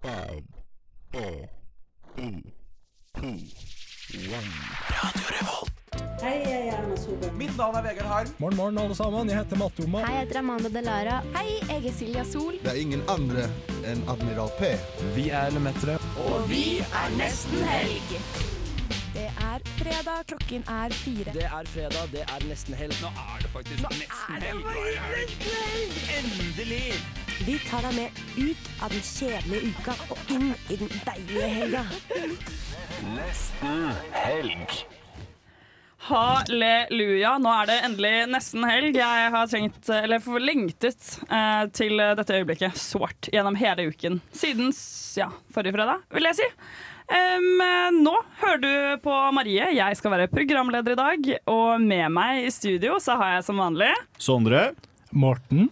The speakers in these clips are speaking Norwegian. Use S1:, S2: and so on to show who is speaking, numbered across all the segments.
S1: Five, four, three, two, one.
S2: Hei, jeg er Erna Solberg.
S3: Mitt navn er Vegard Harm.
S4: Morgen, morgen, alle sammen. Jeg heter Matte Oma.
S5: Hei, jeg heter Amanda Delara. Hei, jeg er Silja Sol.
S6: Det er ingen andre enn Admiral P.
S4: Vi er Lemetere.
S5: Det er fredag, klokken er fire.
S3: Det er fredag, det er nesten helg. Nå er det faktisk nesten helg. Endelig!
S7: Vi tar deg med ut av den kjedelige uka og inn i den deilige helga.
S8: Halleluja. Nå er det endelig nesten helg. Jeg har trengt, eller for- lengtet eh, til dette øyeblikket sårt gjennom hele uken. Siden s- ja, forrige fredag, vil jeg si. Em, eh, nå hører du på Marie. Jeg skal være programleder i dag. Og med meg i studio så har jeg som vanlig
S9: Sondre.
S4: Morten.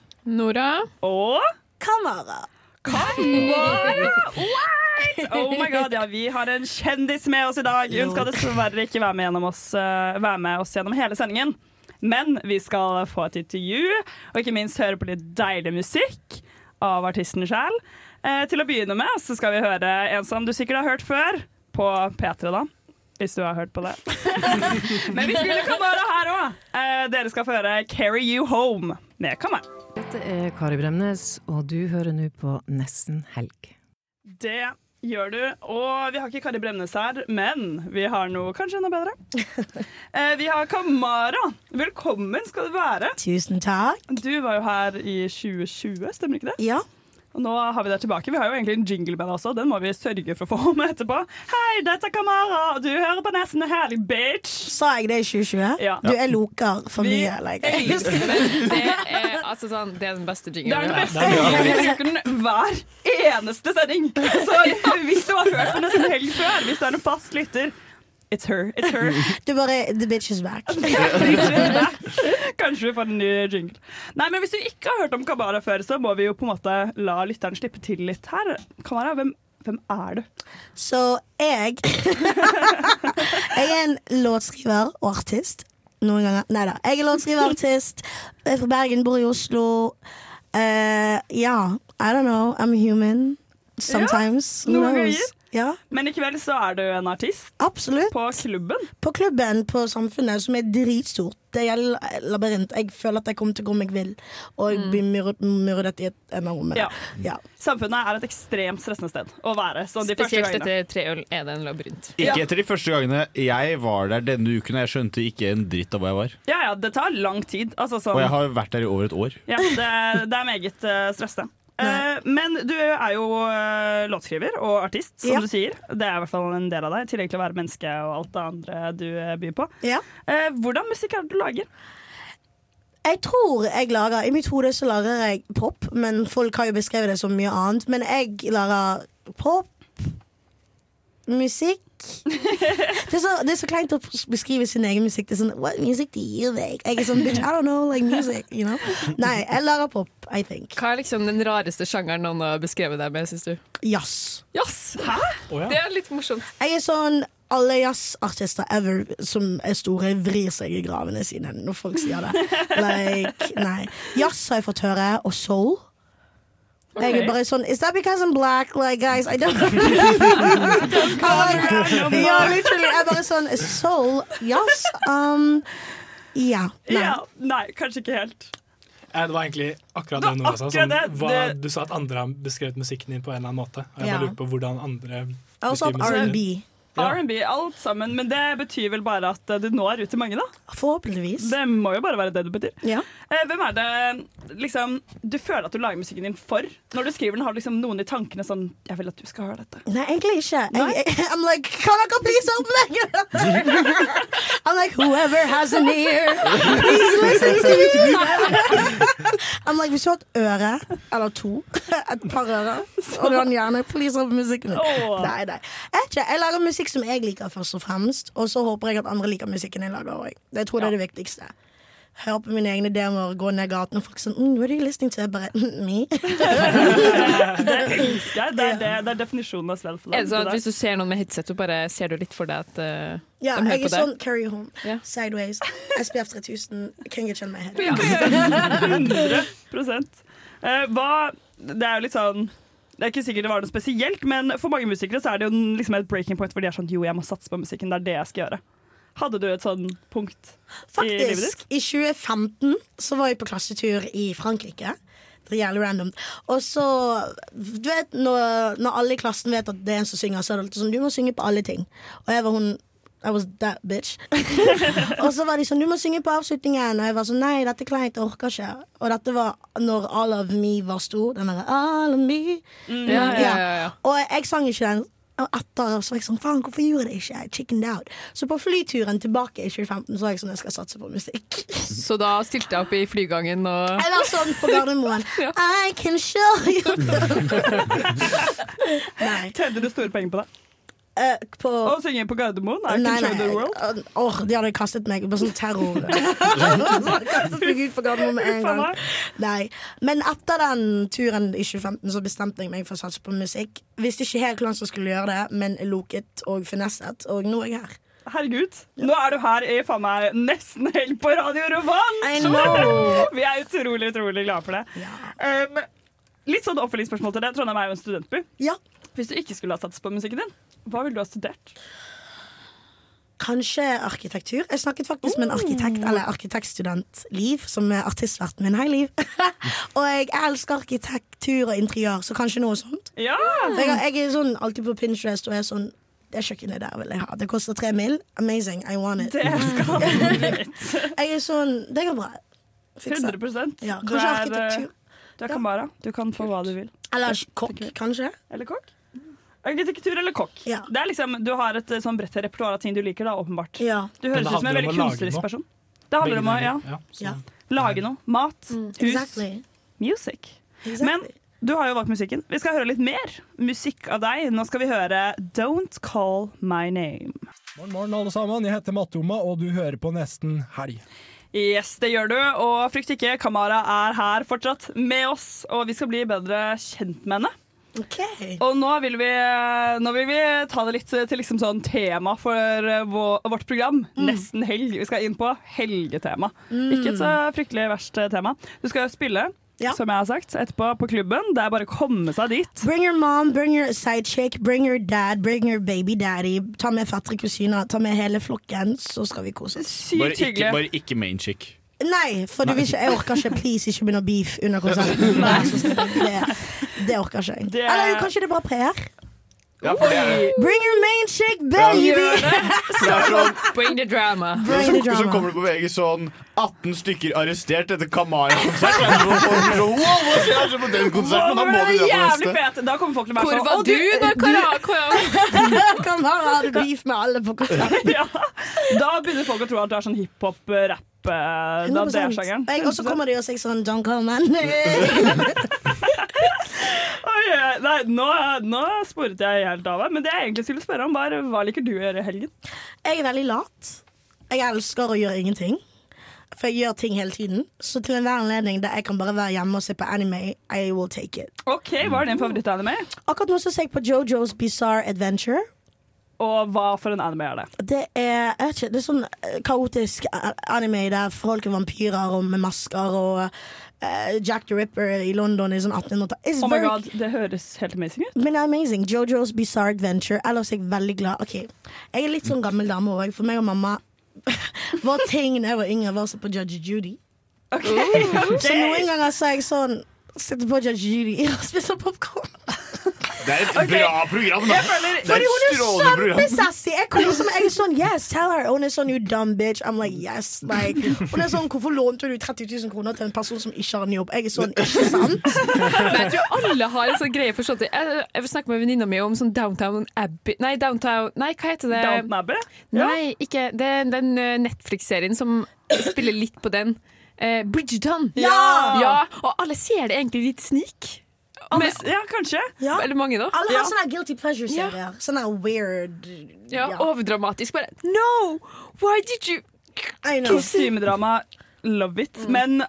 S8: og
S7: Kamera.
S8: Kamara! What? Oh my god, ja, vi har en kjendis med oss i dag. Hun skal dessverre ikke være med, gjennom oss, eh, være med oss gjennom hele sendingen. Men vi skal få et intervju, og ikke minst høre på litt deilig musikk av artisten sjæl. Eh, til å begynne med så skal vi høre en som du sikkert har hørt før, på P3, da. Hvis du har hørt på det. Men vi spiller Kamara her òg. Eh, dere skal få høre 'Carry You Home' med Kamara.
S10: Dette er Kari Bremnes, og du hører nå på Nesten helg.
S8: Det gjør du. Og vi har ikke Kari Bremnes her, men vi har noe kanskje enda bedre. Eh, vi har Kamara. Velkommen skal du være.
S7: Tusen takk.
S8: Du var jo her i 2020, stemmer ikke det?
S7: Ja.
S8: Og nå har vi deg tilbake. Vi har jo egentlig en jingle med deg også. Den må vi sørge for å få med etterpå. Hei, dette er Kamara, og du hører på Nesten Herlig, bitch.
S7: Sa jeg det i 2020?
S8: Ja.
S7: Du, jeg loker for
S8: Vi-
S7: mye. Like.
S11: Men det er, altså sånn, det er den beste
S8: Det er
S11: jinglen.
S8: den beste jinglen. Vi bruker den hver eneste sending. Så hvis du har hørt på Nesten Helg før, hvis du er en fast lytter, it's her, it's her.
S7: Du bare The bitch is back.
S8: Kanskje vi får en ny jingle. Nei, men Hvis du ikke har hørt om Kamara før, så må vi jo på en måte la lytteren slippe til litt her. Kamara, hvem, hvem er du?
S7: Så jeg Jeg er en låtskriver og artist. Noen ganger. Nei da. Jeg er låtskriver og artist. Jeg er fra Bergen, bor i Oslo. Eh, ja. I don't know. I'm human. Sometimes.
S8: Ja,
S7: Who
S8: noen
S7: knows?
S8: ganger.
S7: Ja,
S8: Men i kveld så er du en artist
S7: absolutt.
S8: på klubben.
S7: på klubben på Samfunnet, som er dritstort. Det gjelder labyrint. Jeg føler at jeg kommer til å gå meg vill og bli myrdet, myrdet i et enormt rom.
S8: Ja.
S7: Ja.
S8: Samfunnet er et ekstremt stressende sted å være. Så de første
S11: Spesielt
S8: gangene.
S11: etter tre øl er det en labyrint.
S8: Ja.
S9: Ikke etter de første gangene jeg var der denne uken, og jeg skjønte ikke en dritt av hvor jeg var.
S8: Ja, ja, det tar lang tid. Altså, sånn,
S9: Og jeg har vært der i over et år.
S8: ja, det, er- det er meget eh, stressende. Eh, men du er jo eh, låtskriver og artist, som
S7: Ja.
S8: du sier. Det er i hvert fall en del av deg, i tillegg til å være menneske og alt det andre du eh, byr på.
S7: Ja.
S8: Eh, hvordan musikk er det du lager?
S7: Jeg tror jeg lager I mitt hode så lager jeg pop, men folk har jo beskrevet det som mye annet. Men jeg lager pop, musikk det er, så, det er så kleint å beskrive sin egen musikk. Det er sånn, What music do you make? Jeg er sånn, bitch, I don't know, like music, you know? Nei, jeg lager pop, I think.
S11: Hva er liksom den rareste sjangeren noen har beskrevet deg med, syns du?
S7: Jazz.
S11: Jazz!
S4: ja.
S11: Det er litt morsomt.
S7: Jeg er sånn alle jazzartister ever som er store, vrir seg i gravene sine når folk sier det. Like, nei. Jazz har jeg fått høre, og soul. Jeg er bare sånn Is that because I'm black? Like, guys, I don't Ja, literally. Jeg er bare sånn Soul, jazz um, Ja. Nei.
S8: Ja, nei, kanskje ikke helt.
S12: Eh,
S3: det var egentlig akkurat det
S8: Det var
S3: Nora sa.
S8: akkurat
S3: Sånn,
S8: det.
S3: hva,
S8: Det-
S3: du sa at andre har beskrevet musikken din på en eller annen måte. Og jeg
S7: Ja.
S3: bare lurer på hvordan andre
S7: Jeg er også opp
S3: musikken din.
S7: R&B.
S3: Ja.
S8: R&B, alt sammen. Men det betyr vel bare at eh, du når ut til mange, da.
S7: Forhåpentligvis.
S8: Det må jo bare være det det betyr.
S7: Ja.
S8: Eh, hvem er det liksom, du føler at du lager musikken din for? Når du skriver den, har du liksom noen i tankene sånn Jeg vil at du skal høre dette.
S7: Nei, egentlig ikke.
S8: Nei?
S7: Jeg, jeg, I'm like, kan dere please åpne meg? I'm like, whoever has an ear, please listen to me. I'm like, hvis du har et øre, eller to, et par ører, og du har en hjerne, please åpne musikken.
S8: Åh.
S7: Nei, nei. Jeg, vet ikke, jeg lager musikk som jeg liker først og fremst, og så håper jeg at andre liker musikken jeg lager også. Jeg tror det er det viktigste. Høre på mine egne demoer, gå ned gaten, og folk sånn, mm, what are you listening to? Jeg bare, mm, me?
S8: Det elsker jeg. Det er, det, det er definisjonen av self
S11: Er det sånn at Hvis du ser noen med headset, så bare ser du litt for deg at eh,
S7: Ja, jeg
S11: de hører
S7: er
S11: på deg?
S7: sånn carry home.
S11: Ja.
S7: Sideways. SPF 3000. Can get you on my head.
S8: 100 Eh, hva, Det er jo litt sånn det Det er ikke sikkert det var noe spesielt, men for mange musikere så er det jo en- liksom et breaking point hvor de er sånn Jo, jeg må satse på musikken. Det er det jeg skal gjøre. Hadde du et sånn punkt i livet ditt?
S7: Faktisk, i 2015 så var jeg på klassetur i Frankrike. Det er jævlig random. Og så, du vet, når, når alle i klassen vet at det er en som synger, så er det alltid sånn, du må synge på alle ting. Og jeg var hun, I was that bitch. og så var de sånn, du må synge på avslutningen. Og jeg var sånn, nei, dette er kleint, jeg orker ikke. Og dette var når All of Me var stor, den der All of Me.
S11: Mm, ja, ja, ja, ja.
S7: Og jeg sang ikke den. Og etter så var jeg sånn, faen, hvorfor gjorde jeg det ikke? I chickened out. Så på flyturen tilbake i 2015 så var jeg sånn, jeg skal satse på musikk.
S11: Så da stilte jeg opp i flygangen og
S7: Jeg var sånn på Gardermoen. I can show you. Nei. Eh,
S8: Tjente du store penger på det?
S7: på
S8: Å synge på Gardermoen? I can show the world.
S7: Åh, de hadde kastet meg på sånn terror. De hadde kastet meg ut på Gardermoen med en
S8: Faen meg.
S7: gang. Nei. Men etter den turen i 2015 så bestemte jeg meg for å satse på musikk. Visste ikke helt hvordan jeg skulle gjøre det, men loket og finesset, og nå er jeg her.
S8: Herregud. Nå er du her i faen meg nesten helt på Radio Rovan!
S7: I know.
S8: Vi er utrolig, utrolig glade for det. Um, litt sånn oppfølgingsspørsmål til det. Trondheim er jo en studentby. Hvis du ikke skulle ha satset på musikken din, hva ville du ha studert?
S7: Kanskje arkitektur. Jeg snakket faktisk med en
S8: Oh.
S7: arkitekt eller arkitektstudent, Liv, som er artistverten min. Hei, Liv. og jeg elsker arkitektur og interiør, så kanskje noe sånt.
S8: Ja!
S7: For jeg, har- jeg er sånn alltid på Pinterest og er sånn Det kjøkkenet der vil jeg ha. Det koster tre mil. Amazing. I want it.
S8: Det skal
S7: jeg er sånn Det går bra. Fikse.
S8: 100
S7: Ja,
S8: Du
S7: kanskje
S8: er, eh,
S7: arkitektur.
S8: Du er Kamara. Du kan få hva du vil.
S7: Eller kokk, kanskje.
S8: Eller kokk. Arkitektur eller kokk. Det er liksom, du har et eh, sånn bredt repertoar av ting du liker, da, åpenbart. Du
S12: Men
S8: høres
S12: det
S8: ut som en
S12: handler om
S8: veldig
S12: å lage
S8: kunstnerisk
S12: noe.
S8: person. Det handler om å
S12: Begge
S8: ja,
S12: deler,
S7: Ja.
S8: lage noe. Mat,
S7: Mm,
S8: hus, music. Men du har jo valgt musikken. Vi skal høre litt mer musikk av deg. Nå skal vi høre Don't Call My Name.
S4: Morgen, morgen, alle sammen. Jeg heter Mattoma, og du hører på Nesten Helg.
S8: Yes, det gjør du. Og frykt ikke, Kamara er her fortsatt med oss, og vi skal bli bedre kjent med henne. Og nå vil, vi, nå vil vi ta det litt til liksom sånn tema for vår, vårt program.
S9: Mm.
S8: Nesten helg. Vi skal inn på helgetema.
S12: Mm.
S8: Ikke et så fryktelig verst eh, tema. Du skal spille, som jeg har sagt, etterpå på klubben. Det er bare å komme seg dit.
S7: Bring your mom, bring your sidechick, bring your dad, bring your baby daddy. Ta med fettere kusiner, ta med hele flokken, så skal vi kose oss.
S9: Bare ikke, bare ikke main chick.
S7: Nei, for du vil ikke, jeg orker ikke. Please, ikke begynn å beef under konserten. Vær så snill. Det, det orker ikke jeg.
S12: Det-
S7: Eller jo, kanskje det er bra PR?
S9: Ja, for det er det.
S7: Bring your main chick, baby!
S11: Bring the drama.
S7: Bring the drama.
S9: Så, så kommer det på VG sånn 18 stykker arrestert etter Kamara-konsert. Og så folk blir sånn, Wow, hva skjer altså på den konserten? Da må vi dra på
S8: Jævlig
S9: neste.
S8: fet! Da kommer folk til å være
S11: Hvor
S8: sånn,
S11: var
S8: «Å,
S11: du da, Kara?
S7: Kan være hadde beef med alle på konserten.
S8: Da begynner folk å tro at du er sånn hiphop-rapp. eh, da det er
S7: 100%.
S8: sjangeren.
S7: Jeg- Og så kommer de og sier sånn Don't call man.
S8: Oi, oi, nei, nå, nå sporet jeg helt av her, men det jeg egentlig skulle spørre om, var hva liker du å gjøre i helgen?
S7: Jeg er veldig lat. Jeg elsker å gjøre ingenting. For jeg gjør ting hele tiden. Så til enhver anledning der jeg kan bare være hjemme og se på anime, I will take it.
S8: Ok, Hva er din favorittanime?
S7: Akkurat nå så ser jeg på Jojo's Bizarre Adventure.
S8: Og hva for en anime er det?
S7: Det er, jeg vet ikke, det er sånn eh, kaotisk eh, anime der folk er vampyrer og med masker og eh, Jack the Ripper i London i sånn 1800 It's
S8: Oh my
S7: very-
S8: god, Det høres helt amazing ut.
S7: Men det er amazing. Jojo's Bizarre Adventure. Ellers er jeg veldig glad. Ok, Jeg er litt sånn gammel dame òg, for meg og mamma Vår ting da jeg var yngre, var å se på Judge Judy. Så noen ganger så er jeg sånn Sitter på Judge Judy og spiser popkorn.
S9: Det er et bra program, da.
S7: Jeg føler-
S9: Det er
S7: Fordi hun
S9: et
S7: er
S9: strålende program.
S7: kjempesassy! Jeg kommer som jeg er sånn Yes, tell her! Og hun er sånn You dumb bitch. I'm like yes. Like. Hun er sånn Hvorfor lånte du 30 000 kroner til en person som ikke har en jobb? Jeg er sånn Ikke sant?
S11: Men jeg tror alle har en sånn greie for sånt. Jeg, jeg snakker med venninna mi om sånn Downtown Abbey Nei, Downtown Nei, hva heter det?
S8: Downton Abbey? Ja.
S11: Nei, ikke Det er den eh, Netflix-serien som spiller litt på den. Eh, Bridgerton!
S8: Ja!
S11: ja! Og alle ser det egentlig litt snik.
S8: Alle s- ja, kanskje.
S11: Eller mange, da.
S7: Alle har sånn-
S11: Ja.
S7: sånne guilty pleasure-serier. Sånne weird
S11: Ja, overdramatisk. Bare No! Why did you
S7: I Mm.
S8: Kostymedrama, love it. Men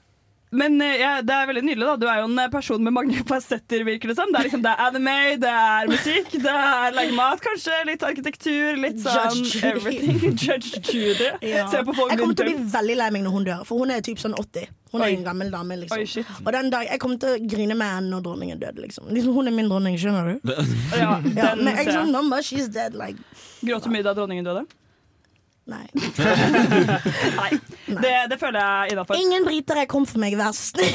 S8: men eh, ja, det er veldig nydelig, da. Du er jo en eh, person med mange fasetter, virker det som. Det er, liksom, det er anime, det er musikk, det er lage mat, kanskje. Litt arkitektur, litt sånn
S7: Judge Judy.
S8: everything. Judge Judy.
S7: Ja.
S8: Se på folk
S7: Jeg kommer til å
S8: rundt
S7: bli veldig lei meg når hun dør, for hun er typ sånn 80. Hun er en gammel dame, liksom. og den dag, jeg kommer til å grine med henne når dronningen er død, liksom. liksom. Hun er min dronning, skjønner du?
S8: Ja,
S7: Ja,
S8: den
S7: men jeg
S8: ser jeg.
S7: sånn, mamma, she's dead, like
S8: Gråt du mye da dronningen døde?
S7: Nei.
S8: Nei. Det, det føler jeg innafor.
S7: Ingen britere kom for meg, vær snill.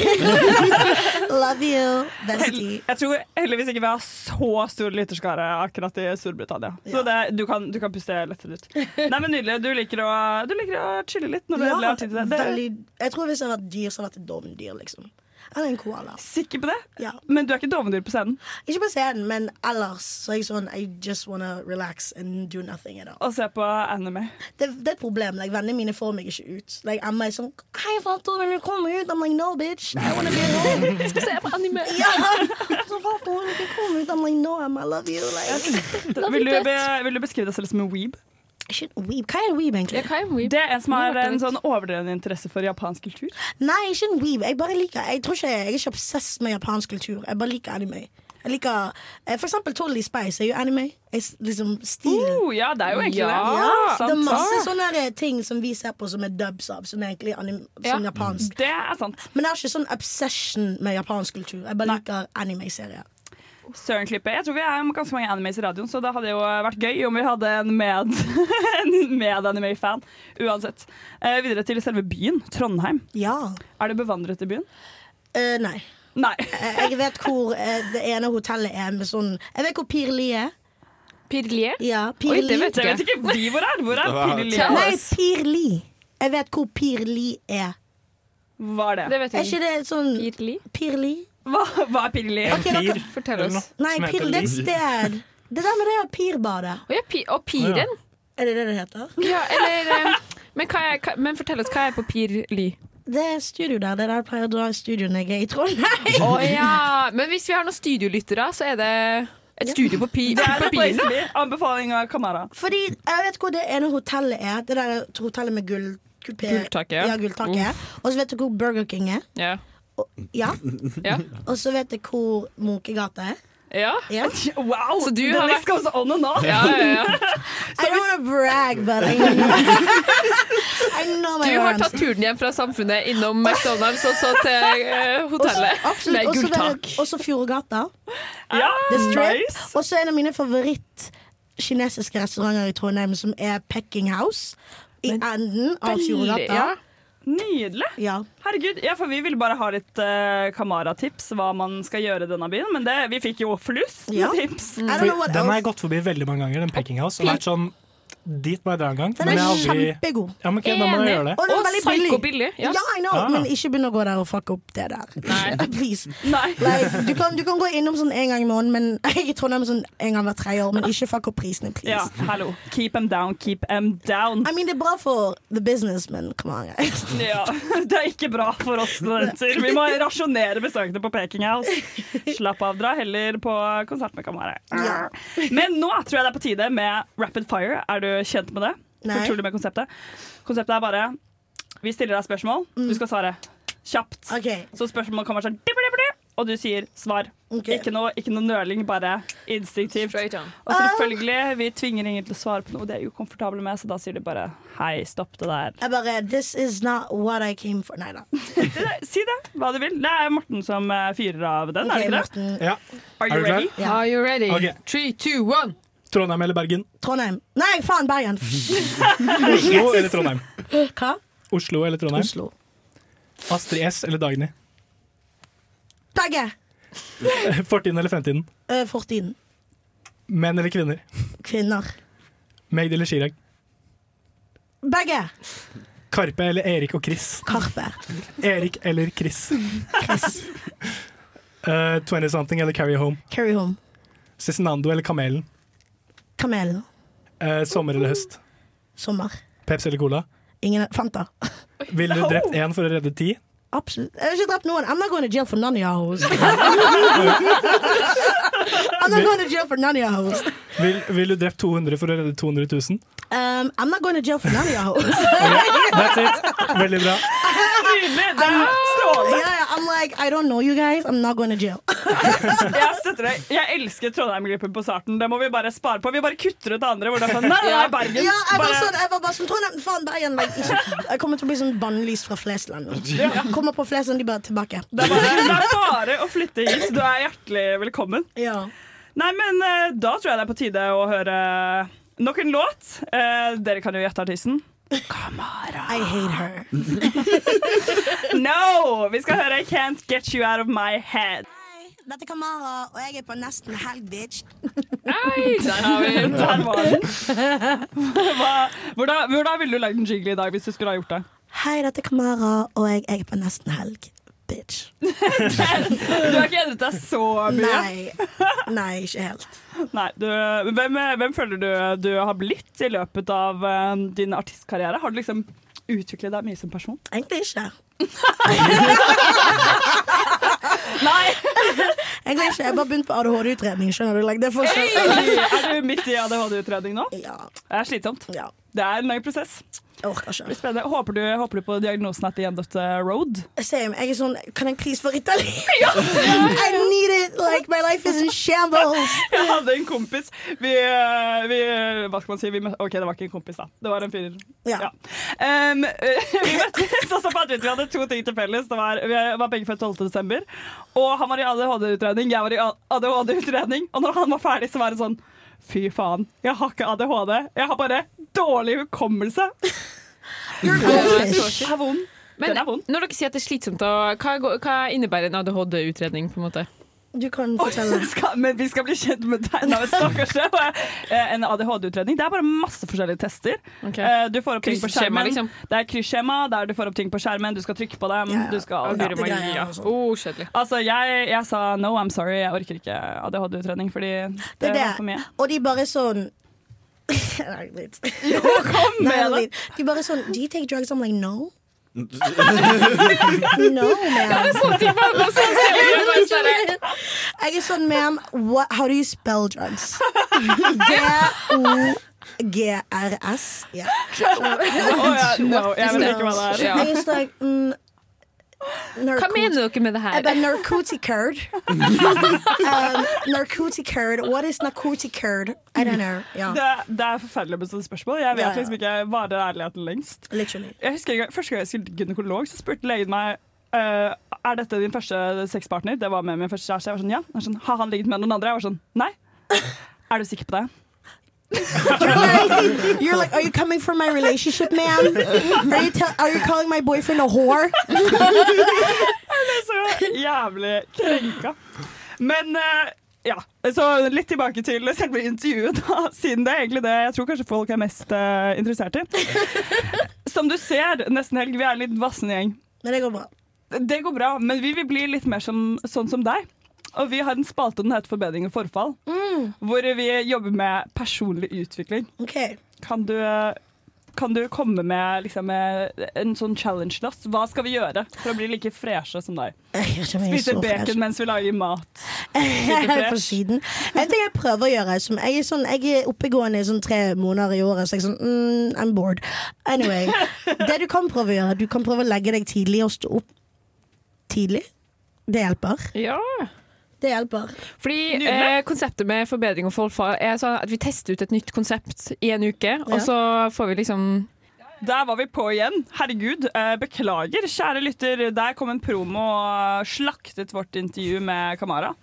S7: Love you, bestie.
S8: Jeg tror heldigvis ikke vi har så stor lytterskare akkurat i Storbritannia. Så det, du, kan, du kan puste lettere ut. Nei, men Nydelig. Du liker å, du liker å chille litt når du endelig har tid til det. det
S7: veldig, jeg tror hvis jeg hadde vært dyr, så hadde jeg vært et dovendyr, liksom. Eller en koala.
S8: Sikker på det?
S7: Ja.
S8: Men du er ikke dovendyr på scenen?
S7: Ikke på scenen, men ellers så er jeg sånn I just wanna relax and do nothing at all.
S8: Å se på anime.
S7: Det, det er et problem. Like, Vennene mine får meg ikke ut. Like, Emma er sånn Hei, Fato, vil du komme ut? I'm like, no, bitch. I wanna be alone.
S11: Skal se på anime.
S7: ja. Så Fato, vil du ikke komme ut? I'm like, no, Emma, I love you. Like,
S8: Vil du, be, vil du beskrive deg selv som en weeb?
S7: shit, weeb. Hva er en weeb, egentlig?
S11: Ja, hva er en weeb?
S8: Det er en som har
S11: Nå hørte jeg
S8: en
S11: litt.
S8: sånn overdreven interesse for japansk kultur.
S7: Nei, ikke en weeb. Jeg bare liker Jeg tror ikke jeg er ikke obsess med japansk kultur. Jeg bare liker anime. Jeg liker eh, For eksempel Tolly Spice er jo anime. Jeg, s- liksom stilen.
S8: Oh, ja, det er jo egentlig
S11: Mm. Ja,
S8: det.
S7: ja,
S8: sant,
S7: det er masse
S8: sant.
S7: sånne her ting som vi ser på som er dubs av, som er egentlig anim
S11: Ja.
S7: som japansk.
S8: Det er sant.
S7: Men jeg har ikke sånn obsession med japansk kultur. Jeg bare liker anime-serier.
S8: Søren Klippe. Jeg tror vi er ganske mange animes i radioen, så det hadde jo vært gøy om vi hadde en med, en med anime-fan. Uansett. Eh, videre til selve byen, Trondheim.
S7: Ja.
S8: Er du bevandret i byen?
S7: Eh, nei.
S8: Nei.
S7: Eh, Jeg vet hvor eh, det ene hotellet er med sånn Jeg vet hvor Pirli er.
S11: Pirlier?
S7: Ja,
S11: Oi,
S7: Pirli.
S11: det vet
S8: Jeg vet ikke vi hvor er. Hvor er Pirli?
S11: Tja.
S7: Nei, Pirli. Jeg vet hvor Pirli er.
S8: Hva er det?
S11: Det vet
S7: Er ikke
S11: jeg.
S7: det sånn
S11: Pirli?
S7: Pirli?
S8: Hva, hva er Pirli?
S7: Ok, dere,
S11: Fortell oss.
S7: Nei, pir, det er et sted. Det der med det pirbadet.
S11: Å ja, pi og piren.
S7: Er det det det heter?
S11: Ja, eller eh, men, hva er, hva, men fortell oss, hva er på Pirli?
S7: Det er studio der. Det er der jeg pleier å dra i studio når jeg er i Trondheim.
S11: Å ja. Men hvis vi har noen studiolyttere, så er det et studio på, pi
S8: Det er
S11: på
S8: The Place
S11: Piren.
S8: to Be. Anbefaling av Kamara.
S7: Fordi jeg vet hvor det ene hotellet er. Det der hotellet med gull... kupé-
S11: Gulltaket, ja.
S7: Ja, gulltaket. Og så vet du hvor Burger King er.
S11: Ja.
S7: Og, ja.
S11: Ja.
S7: Og så vet du hvor Munkegata er.
S11: Ja.
S7: Ja.
S8: Wow!
S11: Så
S8: Så
S11: du
S8: du
S11: har
S8: har
S11: vært-
S8: vært on and on.
S11: Ja, ja, ja.
S7: I don't wanna brag, but I know, I know my
S11: Du har
S7: arms.
S11: tatt turen hjem fra samfunnet innom McDonald's og så til eh, hotellet
S7: Absolutt.
S11: med
S7: Også vet
S11: gulltak. Mm.
S7: jeg- Også Fjordgata.
S8: Ja,
S7: The Strip.
S8: nice.
S7: Og så en av mine favoritt kinesiske restauranter i Trondheim, som er Pecking House. I enden av Fjordgata.
S11: ja. Mm.
S7: Ja.
S8: Nydelig. Herregud, ja, for Vi ville bare ha litt eh, Kamara-tips hva man skal gjøre i denne byen. Men det, vi fikk jo flust med
S7: Ja.
S8: tips.
S7: I don't know
S12: Fordi
S7: what
S12: Den har
S7: else.
S12: jeg gått forbi veldig mange ganger, den Peking House. Og vært sånn, dit må jeg dra en gang.
S7: Den
S12: Men
S7: er
S12: jeg har aldri
S7: kjempegod.
S12: Ja, men ok, da må jeg gjøre
S7: Og
S12: det.
S7: den er
S11: Og
S7: veldig billig.
S11: psykobillig.
S7: Ja,
S11: Ja.
S7: I know,
S12: Ah.
S7: men ikke begynn å gå der og fucke opp det der. Please.
S8: Nei.
S7: Like, du, kan, du kan gå innom sånn en gang i måneden, men jeg er i Trondheim sånn en gang hver tredje år, men ikke fuck opp prisene, please.
S8: Ja, hallo. Keep them down, keep them down.
S7: I mean, det er bra for the business, men come on, guys.
S8: Ja, Det er ikke bra for oss studenter. Vi må rasjonere besøkene på Peking House. Slapp av, dra heller på konsert med Kamara.
S7: Ja.
S8: Men nå tror jeg det er på tide med Rapid Fire. Er du kjent med det?
S7: Nei.
S8: Fortrolig med konseptet? Konseptet er bare Vi stiller deg spørsmål, du skal svare kjapt.
S7: Mm. Ok.
S8: Så spørsmålet kommer sånn dibbidi-bidi, Og du sier svar.
S7: Ok.
S8: Ikke, noe, ikke noe nøling, bare instinktivt.
S11: Straight on.
S8: Og selvfølgelig, vi tvinger ingen til å svare på noe de er ukomfortable med, så da sier de bare hei, stopp det der.
S7: Jeg bare This is not what I came for. Nei da.
S8: Det der- Eh, Si det, hva du vil. Det er Morten som eh, fyrer av den,
S7: Ok,
S8: er det ikke det?
S7: Morten.
S12: Ja.
S8: Are
S12: Er
S8: you
S12: du klar?
S8: ready?
S7: Ja.
S11: Are you ready?
S12: Ok.
S11: Three, two, one.
S12: Trondheim eller Bergen?
S7: Trondheim. Nei, faen, Bergen.
S12: Oslo eller Trondheim?
S7: Hva?
S12: Oslo eller Trondheim?
S7: Oslo.
S12: Astrid S eller Dagny?
S7: Begge.
S12: Fortiden eller fremtiden?
S7: Eh, Fortiden.
S12: Menn eller kvinner?
S7: Kvinner.
S12: Magd eller Chirag?
S7: Begge.
S12: Karpe eller Erik og Chris?
S7: Karpe.
S12: Erik eller Chris?
S7: Chris.
S12: Eh, 20 something eller Carry Home?
S7: Carry home.
S12: Cezinando eller Kamelen?
S7: Kamelen.
S12: Eh, sommer eller høst?
S7: Sommer.
S12: Pepsi eller Cola?
S7: Ingen Fanta.
S12: Ville du drept én for å redde ti?
S7: Absolutt. Jeg har ikke drept noen. I'm not going to jail for none of your hoes. I'm not going to jail for none of your hoes.
S12: Vil- Ville du drept 200 for å redde 200 000?
S7: Um, I'm not going to jail for none of your hoes.
S12: That's it. Veldig bra.
S8: Nydelig! Det er
S7: I'm,
S8: strålende.
S7: yeah, I'm like, I don't know you guys. I'm not going to jail.
S8: Jeg støtter det. Jeg elsker Trondheim-gruppen på starten. Det må vi bare spare på. Vi bare kutter ut det andre. Hvor det er sånn, nei, nei, nei, Bergen.
S7: Ja, jeg var
S8: Bare-
S7: sånn, jeg var bare sånn Trondheim, faen, Bergen. like, ikke- Jeg kommer til å bli sånn bannlyst fra Flesland. Kommer på Flesland, de bare tilbake.
S8: Det er bare, det er bare å flytte hit. Du er hjertelig velkommen. Nei, men eh, da tror jeg det er på tide å høre nok en låt. Eh, dere kan jo gjette artisten. Kamara.
S7: I hate her.
S8: no! Vi skal høre I Can't Get You Out of My Head.
S7: Dette er Kamara, og jeg er på nesten helg, bitch.
S8: Der har vi den. Der var den. Hva, hvordan, hvordan ville du lagd en jingle i dag hvis du skulle ha gjort det?
S7: Hei, dette er Kamara, og jeg er på nesten helg, bitch.
S8: Du har ikke endret deg så mye.
S7: Nei. Nei, ikke helt.
S8: Nei, du, hvem, hvem føler du du har blitt i løpet av eh, din artistkarriere? Har du liksom utviklet deg mye som person?
S7: Egentlig ikke.
S8: Nei!
S7: Egentlig ikke. Jeg har bare begynt på ADHD-utredning, skjønner du. Like, det er
S8: Hey!
S7: fortsatt
S8: Er du midt i ADHD-utredning nå?
S7: Ja.
S8: Det er slitsomt. Det er en lang prosess.
S7: Jeg orker ikke.
S8: Det blir spennende. Håper du, håper du på diagnosen at the end of the road?
S7: Same. Jeg er sånn Kan jeg please få Ritalin? I need it! Like, my life is in shambles.
S8: Jeg hadde en kompis vi, eh, vi, eh, Hva skal man si? Vi mø- OK, det var ikke en kompis, da. Det var en fyr.
S7: Ja.
S8: Em, eh, vi møttes, og så fant vi ut vi hadde to ting til felles. Det var, vi var begge født 12. desember. Og han var i ADHD-utredning, jeg var i ADHD-utredning. Og når han var ferdig, så var det sånn Fy faen, jeg har ikke ADHD. Jeg har bare dårlig hukommelse.
S11: goldfish.
S8: Jeg har vond.
S11: Men
S8: Den er vond.
S11: når dere sier at det er slitsomt, da, hva, går- hva innebærer en ADHD-utredning? på en måte?
S7: Du kan fortelle.
S8: Skal, men vi skal bli kjent med deg. Nei, men stakkars deg. Eh, En ADHD-utredning. Det er bare masse forskjellige tester.
S11: Ok.
S8: Eh, Du får opp ting på
S11: Krysskjema,
S8: skjermen.
S11: liksom.
S8: Det er krysskjema der du får opp ting på skjermen. Du skal trykke på dem. Du skal,
S11: Agurumagi, ja. Oh, kjedelig.
S8: Altså, jeg, jeg sa no, I'm sorry. Jeg orker ikke ADHD-utredning, fordi det,
S7: Det er
S8: var for
S7: det.
S8: mye.
S7: Og de bare sånn Nei, litt.
S8: Jo, kom
S7: Nei,
S8: med det!
S7: litt. De bare sånn Do you take drugs? I'm like, no.
S9: Nei,
S7: No, ma'am.
S11: sånn
S7: Jeg er sånn, ma'am, what- how do you spell drugs? D-O-G-R-S. Yeah.
S8: Å ja, no, jeg vet ikke hva det
S7: I
S8: er.
S7: was like, mm,
S11: Hva mener dere med det her?
S7: Jeg bare narcotic curd. um, narcotic curd. What is narcotic curd? I don't know. Ja.
S8: Det, det er forferdelig med sånne spørsmål. Jeg vet
S7: Ja, ja.
S8: liksom ikke hva er det ærligheten lengst.
S7: Literally.
S8: Jeg husker en gang, Første gang jeg skulle til gynekolog, så spurte legen meg eh, Er dette din første sexpartner. Det var med min første kjæreste. Jeg var sånn, ja. Han var sånn, Har han ligget med noen andre? Jeg var sånn, nei. Er du sikker på det?
S7: You're like, are you coming for my relationship, ma'am? Are you, tell- are you calling my boyfriend a whore?
S8: Jeg ble så jævlig krenka. Men eh, ja, så litt tilbake til selve intervjuet, da, siden det er egentlig det jeg tror kanskje folk er mest eh, interessert i. Som du ser, nesten helg, vi er en litt vassen gjeng.
S7: Men det går bra.
S8: Det går bra, men vi vil bli litt mer som, sånn som deg. Og vi har en spalte den heter Forbedring og forfall, hvor vi jobber med personlig utvikling.
S7: Ok.
S8: Kan du, eh, kan du komme med liksom, eh, en sånn challenge til oss? Hva skal vi gjøre for å bli like freshe som deg? Spise bacon mens vi lager mat.
S7: på siden. En ting jeg prøver å gjøre som Jeg er, sånn, jeg er oppegående i sånn tre måneder i året, så jeg er sånn mm, I'm bored. Anyway. Det du kan prøve å gjøre, du kan prøve å legge deg tidlig og stå opp tidlig. Det hjelper.
S11: Ja.
S7: Det hjelper.
S11: Fordi eh, Konseptet med forbedring og forfall er sånn at vi tester ut et nytt konsept i en uke, og så får vi liksom
S8: Der var vi på igjen. Herregud, eh, beklager, kjære lytter. Der kom en promo og slaktet vårt intervju med Kamara.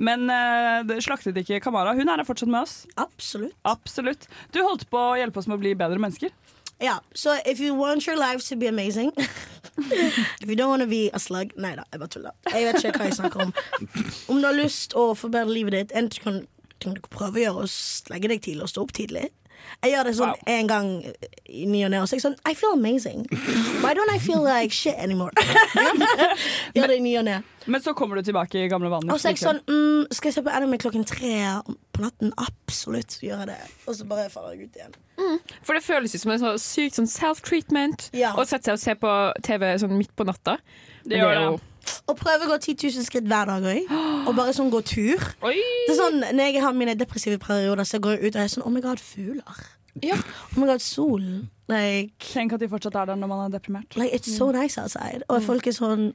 S8: Men eh, det slaktet ikke Kamara. Hun er her fortsatt med oss.
S7: Absolutt.
S8: Absolutt. Du holdt på å hjelpe oss med å bli bedre mennesker.
S7: Ja, så if you want your life to be amazing If you don't want to be a slug Nei da, jeg bare tuller. Jeg vet ikke hva jeg snakker om. Om du har lyst å forbedre livet ditt, en ting kan- ting du kan prøve å gjøre, er å s- legge deg tidlig og stå opp tidlig. Jeg gjør det sånn en gang i ny og ne, og så er jeg sånn I feel amazing. Why don't I feel like shit anymore? gjør det i ny og ne.
S8: Men så kommer du tilbake i gamle vaner.
S7: Og så er jeg sånn mm, Skal jeg se på anime klokken tre på natten? Absolutt, gjør jeg det. Og så bare faller jeg ut igjen.
S11: For det føles jo som en sånn sykt sånn self-treatment
S7: Ja.
S11: å sette seg og se på TV sånn midt på natta. Men
S7: gjør
S11: er jo-
S7: Og prøve å gå 10 000 skritt hver dag òg. Og bare sånn gå tur. Det er sånn, Når jeg har mine depressive perioder, så går jeg ut og er sånn Oh my god, fugler. Oh my god, solen. Like,
S8: Tenk at de fortsatt er der når man er deprimert.
S7: Like, it's so nice outside. Og folk er sånn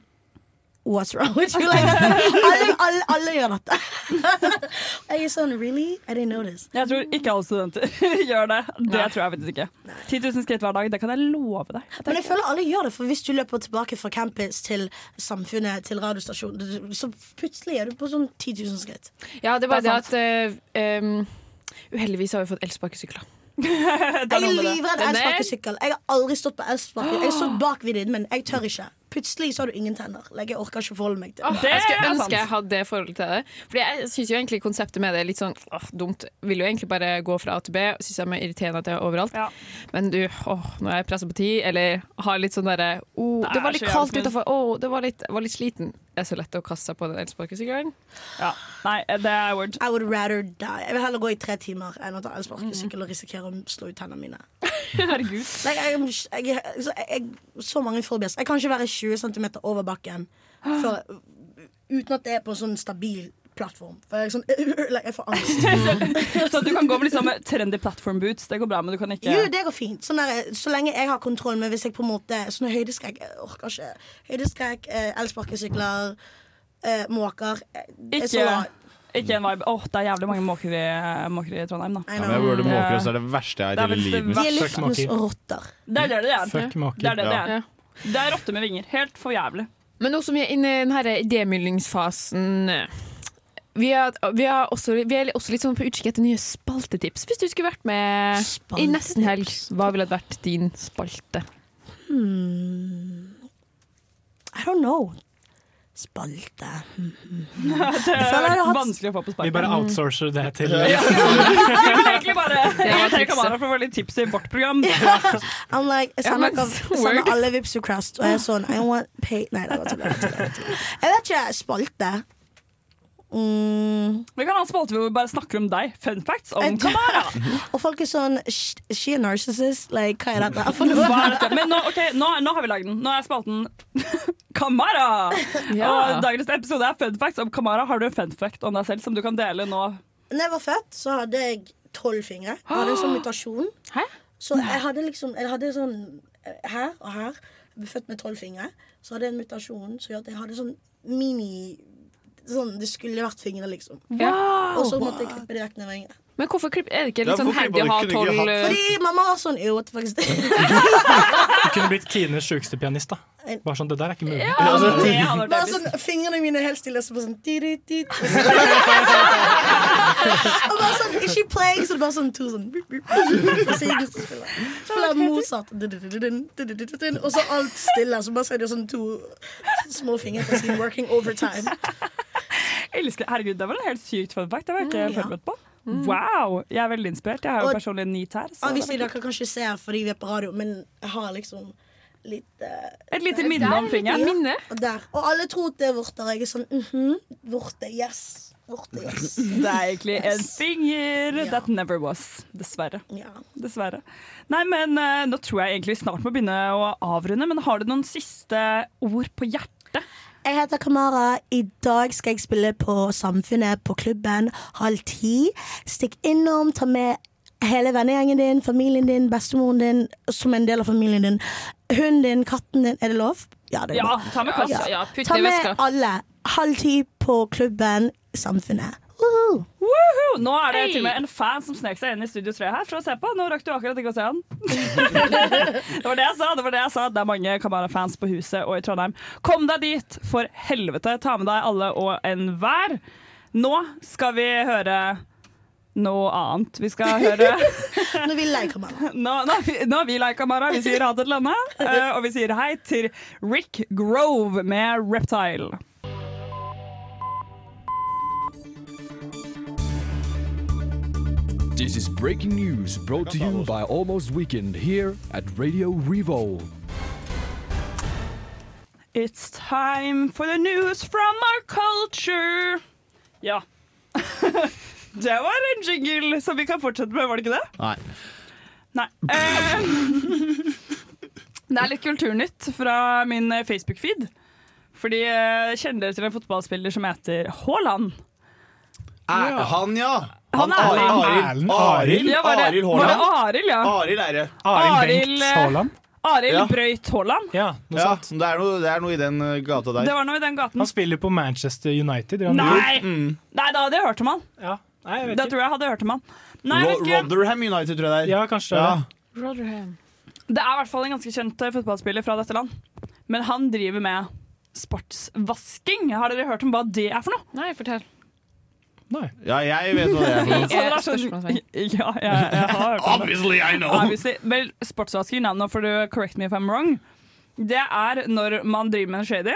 S7: What's wrong with you? Like, alle, alle, alle gjør dette. Og jeg er sånn Really? I didn't know this.
S8: Jeg tror ikke alle studenter gjør det. Det tror jeg faktisk ikke. 10 000 skritt hver dag, det kan jeg love deg. Det er
S7: Men jeg
S8: ikke-
S7: føler alle gjør det, for hvis du løper tilbake fra campus til samfunnet, til radiostasjonen, så plutselig er du på sånn 10 000 skritt.
S11: Ja, det er bare
S7: Det
S11: det,
S7: er
S11: at eh, em, Uheldigvis har vi fått elsparkesykler.
S7: Jeg er livredd
S11: Den er-
S7: elsparkesykkel. Jeg har aldri stått på elsparkesykkel. Jeg har stått bak ved din, men jeg tør ikke. Plutselig så har du ingen tenner. Like, jeg orker ikke forholde meg til
S11: Åh, jeg skulle ønske jeg hadde det forholdet til det. Fordi jeg syns jo egentlig konseptet med det er litt sånn åh, dumt. Vil jo egentlig bare gå fra A til B. Syns jeg er irriterende at det er overalt. Men du, åh, når jeg presser på tid, eller har litt sånn derre oh,
S8: Det
S11: det,
S8: er
S11: var
S8: så
S11: litt kaldt
S8: jævlig.
S11: utafor, åh, det var litt, jeg var litt sliten. Det er så lett å kaste seg på den elsparkesykkelen.
S8: Ja. Nei, det er word.
S7: I would rather die. Jeg vil heller gå i tre timer enn å ta elsparkesykkel og risikere å slå ut tennene mine.
S8: Herregud.
S7: Like, jeg, jeg, så, jeg, så mange fobier. Jeg kan ikke være 20 cm over bakken for, uten at det er på en sånn stabil plattform. For jeg, er sånn, like, jeg får angst.
S8: Så du kan gå med liksom trendy platform boots, det går bra, men du kan ikke
S7: Jo, det går fint. Sånn der, så lenge jeg har kontroll med hvis jeg på en måte Sånn høydeskrekk jeg orker ikke. Høydeskrekk, eh, elsparkesykler, eh, måker. eh, det er
S8: Ikke,
S7: så rart.
S8: ikke en vibe. Åh, det er jævlig mange måker i, måker i Trondheim, da.
S9: Ja, men jeg burde måker, og så er det verste jeg
S8: Det er
S9: har i hele
S8: faktisk det
S9: livet mitt.
S8: verste. Dialektenes
S9: Fuck måker.
S7: rotter.
S8: Det er det det er.
S9: Fuck måker.
S8: Det er det det
S9: Ja.
S8: er. Det er rotter med vinger. Helt for jævlig.
S11: Men nå som vi er inne i denne idémyldningsfasen eh, vi er, vi, er også, vi er også litt sånn på utkikk etter nye spaltetips. Hvis du skulle vært med i nesten helg, hva ville vært din spalte?
S7: Hmm. I don't know. Spalte Hmm, hmm, hmm.
S8: Det
S7: Jeg
S8: er
S7: føler jeg har hatt-
S8: vanskelig å få på sparket.
S12: Vi bare outsourcer det til
S8: Jeg vil egentlig bare
S7: Det var
S8: invitere
S7: trikset.
S8: Kamara for å få litt tips i vårt program.
S7: I'm like, jeg
S8: Ja,
S7: sender,
S8: men
S7: ikke- jeg
S8: word.
S7: sender alle vips to crust, og jeg er sånn I want pay Nei, det var tull. det var tull, det var tull. Jeg vet ikke. Spalte. Mm.
S8: Vi kan ha en spalte hvor vi bare snakker om deg. Fun facts om
S7: Jeg-
S8: Kamara.
S7: Og folk er sånn "Sh- Is she a narcissist? Like, hva er dette? For
S8: Hva
S7: noe?
S8: er dette? Men nå, ok, nå, nå har vi lagd den. Nå er spalten Kamara!
S7: Ja.
S8: Og dagens episode er fun facts om Kamara. Har du en fun fact om deg selv som du kan dele nå?
S7: Når jeg var født, så hadde jeg tolv fingre. Jeg hadde en sånn mutasjon. Så jeg hadde liksom Jeg hadde sånn eh, her og her. Jeg ble født med tolv fingre. Så hadde jeg en mutasjon som gjorde at jeg hadde sånn mini Sånn, Det skulle vært fingre, liksom.
S11: Wow!
S7: Og så måtte jeg klippe det vekk når jeg var yngre.
S11: Men hvorfor klipp, er det ikke
S12: Ja,
S11: litt sånn
S12: hvorfor
S11: heldig å
S12: bare
S11: ha
S12: kunne ikke
S11: tolv
S12: hatt-
S11: eh,
S7: Fordi mamma var sånn Jo, det er faktisk det.
S12: Du kunne blitt Tines sjukeste pianist, da. Bare sånn, det der er ikke mulig.
S7: Bare sånn, Fingrene mine er helt stille, så bare sånn di, di, di. Og bare sånn Is she playing? Så det er bare sånn to sånn bup, bup, bup. Så gikk det så spiller jeg. Spiller Mozart. Du, du, du, du, du, du, du, du, du. Og så alt stille. Så bare ser du sånn to små fingre på siden working overtime.
S8: Jeg Elsker, herregud, det var en helt sykt fun fact. Det var jeg ikke
S7: Mm, ja.
S8: forberedt på. Wow! Jeg er veldig inspirert. Jeg har
S7: Og-
S8: jo personlig ni tær. så-
S7: Obviously, dere kan ikke se fordi vi er på radio, men jeg har liksom litt eh,
S8: Et lite minne om fingeren.
S7: Ja,
S8: Minne.
S7: Og, der. og alle tror at det er vorter. og Jeg er sånn mhm, vorte, yes. Vorte, yes.
S8: Det er egentlig en
S7: Yes.
S8: finger that never was. Dessverre. Dessverre. Nei, men eh, nå tror jeg egentlig vi snart må begynne å avrunde, men har du noen siste ord på hjertet?
S7: Jeg heter Kamara. I dag skal jeg spille på Samfunnet på klubben halv ti. Stikk innom, ta med hele vennegjengen din, familien din, bestemoren din, som en del av familien din. Hunden din, katten din. Er det lov? Ja, det er
S8: Ja,
S7: lov.
S8: ta med katt. Ja, putt
S7: ta
S8: det i
S7: med
S8: veska.
S7: alle. Halv ti på klubben Samfunnet. Woohoo!
S8: Woohoo! Nå er det
S7: Hei!
S8: til og med en fan som snek seg inn i Studio 3 her for å se på. Nå rakk du akkurat ikke å se han. det var det jeg sa. Det var det jeg sa. Det er mange Kamara-fans på huset og i Trondheim. Kom deg dit, for helvete. Ta med deg alle og enhver. Nå skal vi høre noe annet. Vi skal høre
S7: Nå vil jeg Kamara.
S8: Nå, nå, er vi- nå er vi lei Kamara. Vi sier ha det til denne. eh, Og vi sier hei til Rick Grove med Reptile.
S13: This is breaking news brought to you by Almost Weekend here at Radio Revolve.
S8: It's time for the news from our culture. Ja. det var en jingle som vi kan fortsette med, var det ikke det?
S9: Nei.
S8: Nei. Eh, det er litt kulturnytt fra min eh, Facebook-feed. Fordi eh, kjenner dere til en fotballspiller som heter Haaland?
S9: Er han, ja!
S8: Han er
S9: Arild. Arild
S8: Ja, var det-
S9: Arild
S8: var det
S9: Haaland.
S8: Arild, ja?
S9: Arild er det.
S8: Arild eh, Arild
S9: Ja.
S8: Brøyt Haaland?
S9: Ja, det, er noe, det er noe i den eh, gata der.
S8: Det var noe i den gaten.
S12: Han spiller på Manchester United. gjør han det?
S8: Nei!
S9: Mm.
S8: Nei, da hadde jeg hørt om han.
S12: vet
S8: da tror jeg jeg hadde hørt om han. Nei, jeg
S9: Ro-
S8: vet ikke.
S9: Rotherham United, tror jeg det er.
S12: Ja, kanskje.
S9: Ja.
S8: Det er i hvert fall en ganske kjent eh, fotballspiller fra dette land. Men han driver med sportsvasking. Har dere hørt om hva det er for noe?
S11: Nei, fortell.
S9: Ja, jeg vet hva det er. for noe.
S8: Ja,
S12: sånn
S8: ja, jeg, jeg har hørt om det.
S9: Obviously, I know.
S8: Obviously. Vel, sportsvasking er nå, for du correct me if I'm wrong. Det er når man driver med en shady,